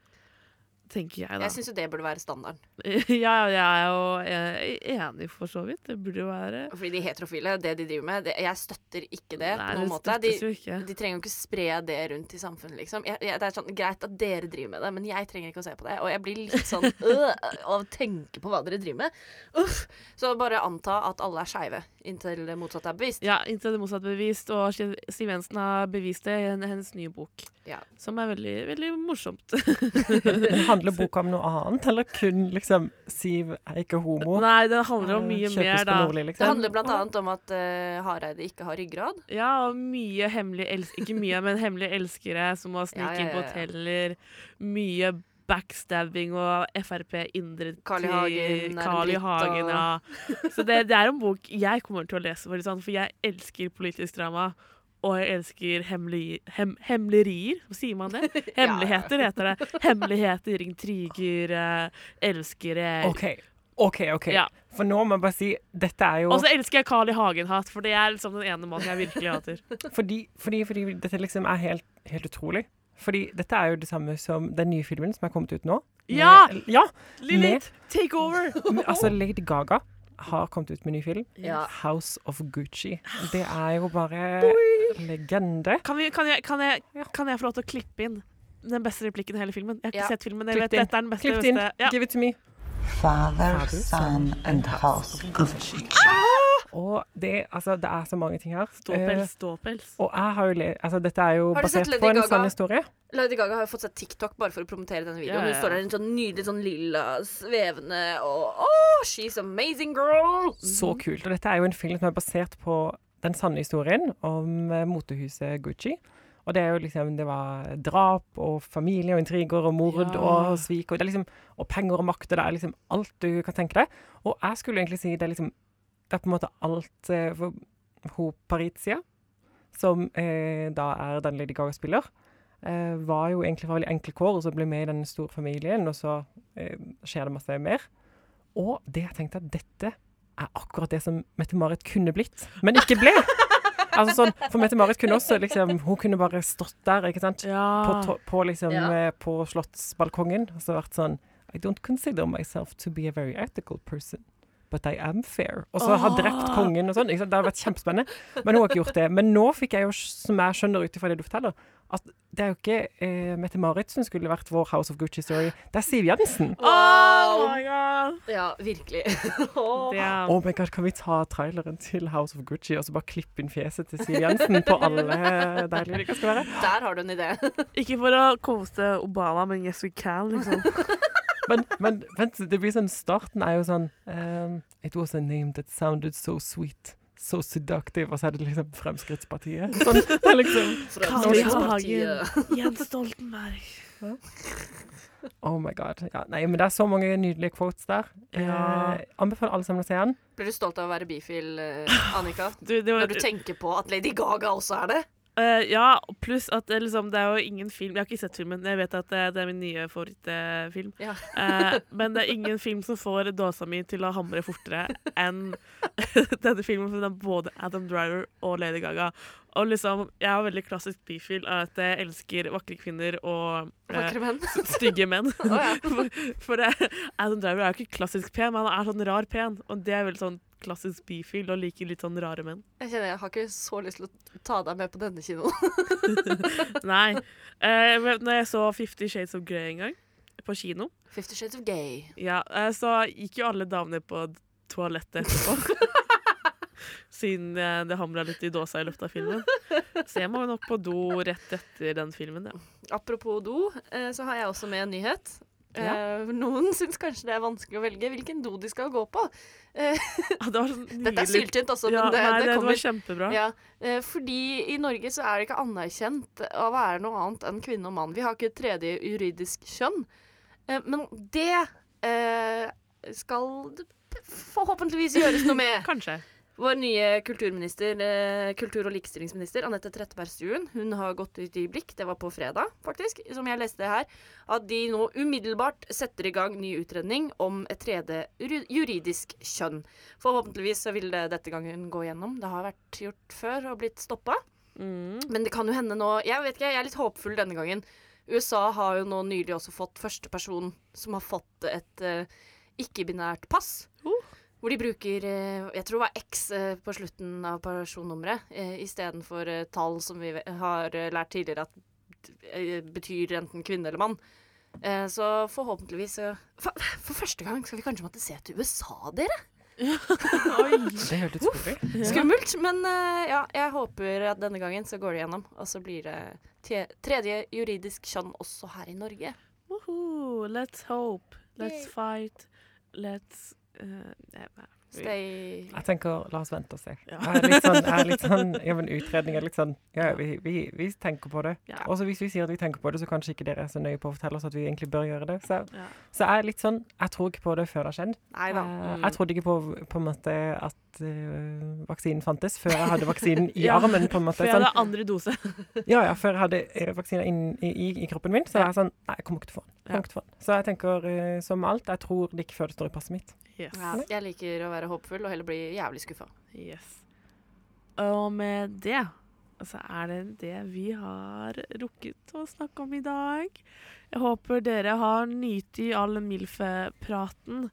Speaker 2: tenker jeg, da.
Speaker 4: Jeg syns jo det burde være standarden.
Speaker 2: *laughs* ja, jeg er jo eh, enig, for så vidt. Det burde jo være
Speaker 4: Fordi de heterofile, det de driver med det, Jeg støtter ikke det
Speaker 2: Nei,
Speaker 4: på noen
Speaker 2: det
Speaker 4: måte. De,
Speaker 2: støttes jo ikke.
Speaker 4: de trenger jo ikke spre det rundt i samfunnet, liksom. Jeg, jeg, det er sånn, Greit at dere driver med det, men jeg trenger ikke å se på det. Og jeg blir litt *laughs* sånn øh, av å tenke på hva dere driver med. Uff! Så bare anta at alle er skeive inntil det motsatte er bevist.
Speaker 2: Ja, inntil det motsatte er bevist, og Siv Siv Jensen har bevist det i hen- hennes nye bok.
Speaker 4: Ja.
Speaker 2: Som er veldig, veldig morsomt.
Speaker 3: Men Handler boka om noe annet, eller kun liksom Siv er ikke homo?
Speaker 2: Nei, det handler om mye
Speaker 3: Kjøpes
Speaker 2: mer,
Speaker 3: på
Speaker 2: da.
Speaker 3: Nordli,
Speaker 4: Det
Speaker 3: liksom.
Speaker 4: handler blant annet om at eh, Hareide ikke har ryggrad.
Speaker 2: Ja, og mye hemmelige elskere Ikke mye, men hemmelige elskere som har
Speaker 4: Ja,
Speaker 2: sniket
Speaker 4: ja,
Speaker 2: inn
Speaker 4: ja,
Speaker 2: på
Speaker 4: ja.
Speaker 2: hoteller. Mye backstabbing og Frp indre
Speaker 4: Carl I.
Speaker 2: til-
Speaker 4: Hagen er en
Speaker 2: Carl I.
Speaker 4: dritt,
Speaker 2: Hagen, ja. Så det, det er en bok jeg kommer til å lese, for, sånn, for jeg elsker politisk drama. Og jeg elsker hemmeli, hem, hemmelerier. Sier
Speaker 4: *laughs*
Speaker 2: man det? Hemmeligheter heter det. Hemmeligheter, intriger, eh, elskere
Speaker 3: OK, OK. ok.
Speaker 2: Ja.
Speaker 3: For nå må jeg bare si dette er jo
Speaker 2: Og så elsker jeg Carl I. Hagen-hat, for det er liksom den ene mannen jeg virkelig hater.
Speaker 3: Fordi, fordi, fordi dette liksom er helt, helt utrolig. Fordi dette er jo det samme som den nye filmen som er kommet ut nå. med-
Speaker 2: Ja!
Speaker 3: ja!
Speaker 2: Lilith, take over!
Speaker 3: *laughs* Men, altså Lady Gaga har kommet ut med ny film.
Speaker 4: Ja.
Speaker 3: House of Gucci. Det er jo bare legende.
Speaker 2: Kan, vi, kan, jeg, kan, jeg, kan jeg få lov til å klippe inn den beste replikken i hele filmen? Jeg har ikke
Speaker 4: Ja.
Speaker 2: sett filmen. Jeg
Speaker 3: Klipp
Speaker 2: vet
Speaker 3: det inn.
Speaker 2: dette er den beste.
Speaker 3: Klipp det inn.
Speaker 2: beste- Ja.
Speaker 3: Give it to me.
Speaker 7: Father,
Speaker 3: Father,
Speaker 7: son, and house of Gucci.
Speaker 3: Og det, altså, det er så mange ting her. Eh,
Speaker 2: Ståpels, ståpels.
Speaker 3: og jeg har jo le altså, dette er jo
Speaker 4: Har du sett
Speaker 3: basert
Speaker 4: Lady
Speaker 3: på en
Speaker 4: Gaga?
Speaker 3: sann historie.
Speaker 4: Lady Gaga har jo fått seg TikTok bare for å promotere denne videoen.
Speaker 2: Ja, ja, ja.
Speaker 4: Hun står der i en sånn nydelig sånn lilla, svevende og oh, She's amazing girl!
Speaker 3: Så kult. Og dette er jo en film som er basert på den sanne historien om eh, motehuset Gucci. Og det er jo liksom Det var drap og familie og intriger og mord
Speaker 2: Ja.
Speaker 3: og svik og, det er liksom, og penger og makt, og det er liksom alt du kan tenke deg. Og jeg skulle egentlig si det er liksom Det er på en måte alt eh, for hun Paritia, som eh, da er den Lady Gaga-spiller, eh, var jo egentlig fra veldig enkle kår, og så ble med i den store familien, og så eh, skjer det masse mer. Og det jeg tenkte at dette er akkurat det som Mette-Marit kunne blitt, men ikke ble. Altså sånn, For Mette-Marit kunne også liksom, hun kunne bare stått der ikke sant? på,
Speaker 2: Ja.
Speaker 3: to- på, liksom,
Speaker 4: Ja.
Speaker 3: eh, på slottsbalkongen og så vært sånn I don't consider myself to be a very ethical person. But I am fair. Og så har drept kongen og sånn. ikke sant? Det hadde vært kjempespennende. Men hun har ikke gjort det. Men nå fikk jeg jo, som jeg skjønner ut ifra det du forteller, at det er jo ikke eh, Mette-Marit som skulle vært vår House of Gucci-story. Det er Siv Jensen.
Speaker 2: Oh my god!
Speaker 4: Ja, virkelig.
Speaker 2: Det er
Speaker 3: Oh my god, Kan vi ta traileren til House of Gucci og så bare klippe inn fjeset til Siv Jensen på alle deilige de skal være?
Speaker 4: Der har du en idé.
Speaker 2: Ikke for å koste Obama, men yes we can, liksom.
Speaker 3: Men, men vent, det blir sånn Starten er jo sånn ehm, It was a name that sounded so sweet. So seductive. Og så er det liksom Fremskrittspartiet. Sånn, det er liksom
Speaker 2: Carl I.
Speaker 4: Fremskrittspartiet.
Speaker 2: Hagen, Jens Stoltenberg.
Speaker 3: Oh my god. Ja, nei, men det er så mange nydelige quotes der.
Speaker 2: Ja.
Speaker 3: Eh, anbefaler alle sammen å se den.
Speaker 4: Blir du stolt av å være bifil, eh, Annika?
Speaker 2: Du, det var,
Speaker 4: Når du tenker på at Lady Gaga også er det?
Speaker 2: Eh, ja, pluss at det, liksom, det er jo ingen film Jeg har ikke sett filmen, jeg vet at det, det er min nye favorittfilm.
Speaker 4: Ja.
Speaker 2: Eh, men det er ingen film som får dåsa mi til å hamre fortere enn *laughs* denne filmen. For den er både Adam Driver og Lady Gaga. Og liksom, jeg er veldig klassisk bifil av at jeg elsker vakre kvinner og eh,
Speaker 4: Vakre menn.
Speaker 2: stygge
Speaker 4: *laughs*
Speaker 2: menn.
Speaker 4: ja.
Speaker 2: For, *laughs* for det, Adam Driver er jo ikke klassisk pen, men han er sånn rar pen. Og det er veldig sånn klassisk bifil og liker litt sånn rare menn.
Speaker 4: Jeg kjenner jeg har ikke så lyst til å ta deg med på denne kinoen.
Speaker 2: Nei. Eh, men når jeg så Fifty Shades of Grey en gang, på kino,
Speaker 4: *laughs* Fifty Shades of Gay.
Speaker 2: ja, eh, så gikk jo alle damene på d- toalettet etterpå.
Speaker 4: *laughs*
Speaker 2: Siden eh, det hamra litt i dåsa i løpet av filmen. Så jeg må jo nok på do rett etter den filmen. Ja. *laughs*
Speaker 4: Apropos do, eh, så har jeg også med en nyhet. Eh, Noen syns kanskje det er vanskelig å velge hvilken do de skal gå på.
Speaker 2: Ah, Det var sånn
Speaker 4: Dette er
Speaker 2: nydelig-
Speaker 4: syltynt, altså,
Speaker 2: Ja,
Speaker 4: men det,
Speaker 2: nei,
Speaker 4: det
Speaker 2: det,
Speaker 4: kommer.
Speaker 2: var kjempebra.
Speaker 4: Ja, eh, fordi i Norge så er det ikke anerkjent å være noe annet enn kvinne og mann. Vi har ikke et tredje juridisk kjønn. Eh, Men det eh, skal det forhåpentligvis gjøres noe med.
Speaker 2: Kanskje.
Speaker 4: Vår nye kulturminister, eh, kultur- og likestillingsminister Anette Trettebergstuen, hun har gått ut i Blikk, det var på fredag faktisk, som jeg leste her, at de nå umiddelbart setter i gang ny utredning om et tredje juri- juridisk kjønn. Forhåpentligvis så vil det dette gangen gå gjennom. Det har vært gjort før og blitt stoppa. Men det kan jo hende nå Jeg vet ikke, jeg er litt håpfull denne gangen. USA har jo nå nylig også fått førsteperson som har fått et eh, ikke-binært pass. Hvor de bruker eh, jeg tror det var X eh, på slutten av personnummeret eh, istedenfor eh, tall som vi ve- har eh, lært tidligere at eh, betyr enten kvinne eller mann. Eh, så forhåpentligvis eh, for, for første gang skal vi kanskje måtte se til USA, dere.
Speaker 3: Det er jo litt skummelt.
Speaker 4: Skummelt, men eh, ja, jeg håper at denne gangen så går det gjennom. Og så blir det te- tredje juridisk kjønn også her i Norge.
Speaker 2: Woohoo, let's hope. Let's fight. Let's eh, nei, nei.
Speaker 4: Stay
Speaker 3: Jeg tenker, la oss vente og se.
Speaker 2: Ja.
Speaker 3: Jeg er litt sånn, jeg er litt
Speaker 2: *laughs*
Speaker 3: sånn ja, men utredning er litt sånn Ja, vi, vi, vi tenker på det.
Speaker 2: Ja.
Speaker 3: Og så hvis vi sier at vi tenker på det, så kanskje ikke dere er så nøye på å fortelle oss at vi egentlig bør gjøre det. Så,
Speaker 2: Ja.
Speaker 3: så jeg er litt sånn Jeg tror ikke på det før det har skjedd.
Speaker 4: Nei da.
Speaker 2: Mm.
Speaker 3: Eh, Jeg trodde ikke på, på en måte at eh, vaksinen fantes før jeg hadde
Speaker 2: *laughs*
Speaker 3: vaksinen i
Speaker 2: Ja,
Speaker 3: armen. på en måte.
Speaker 2: For jeg
Speaker 3: Sånn,
Speaker 2: hadde andre dose. *laughs*
Speaker 3: ja, ja, Før jeg hadde eh, vaksiner inn, i, i, i kroppen min, så var jeg sånn Nei, jeg kommer ikke til å få den. Jeg
Speaker 2: Ja.
Speaker 3: kommer ikke til å få den. Så jeg tenker eh, som alt, jeg tror det ikke før det står i passet mitt.
Speaker 2: Yes.
Speaker 4: Ja, jeg liker å være håpefull og heller bli jævlig skuffa.
Speaker 2: yes. Og med det så er det det vi har rukket å snakke om i dag. Jeg håper dere har nytt i all Milfe-praten,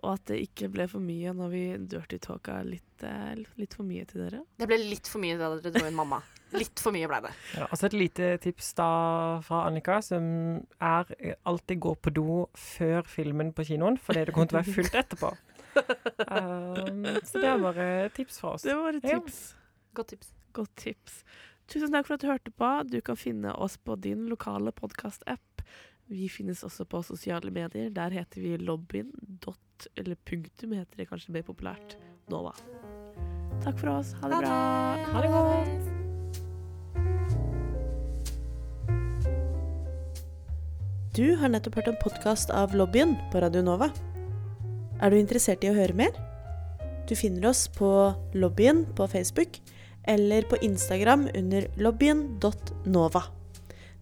Speaker 2: og at det ikke ble for mye når vi dirty talka litt, eh, litt for mye til dere.
Speaker 4: Det ble litt for mye da dere dro inn mamma. Litt for mye blei det.
Speaker 3: Ja, også et lite tips da fra Annika, som er eh, alltid gå på do før filmen på kinoen, fordi det kommer til å være fullt etterpå. Um, så det er bare et tips fra oss.
Speaker 2: Det var et
Speaker 3: Ja.
Speaker 2: tips.
Speaker 4: Godt tips.
Speaker 2: Godt tips. Tusen takk for at du hørte på. Du kan finne oss på din lokale podkast-app. Vi finnes også på sosiale medier. Der heter vi lobbyen. Dot, eller punktum heter det kanskje mer populært. Nova. Takk for oss. Ha det bra.
Speaker 4: Ha det godt.
Speaker 1: Du har nettopp hørt en podkast av Lobbyen på Radio Nova. Er du interessert i å høre mer? Du finner oss på Lobbyen på Facebook eller på Instagram under lobbyen.nova.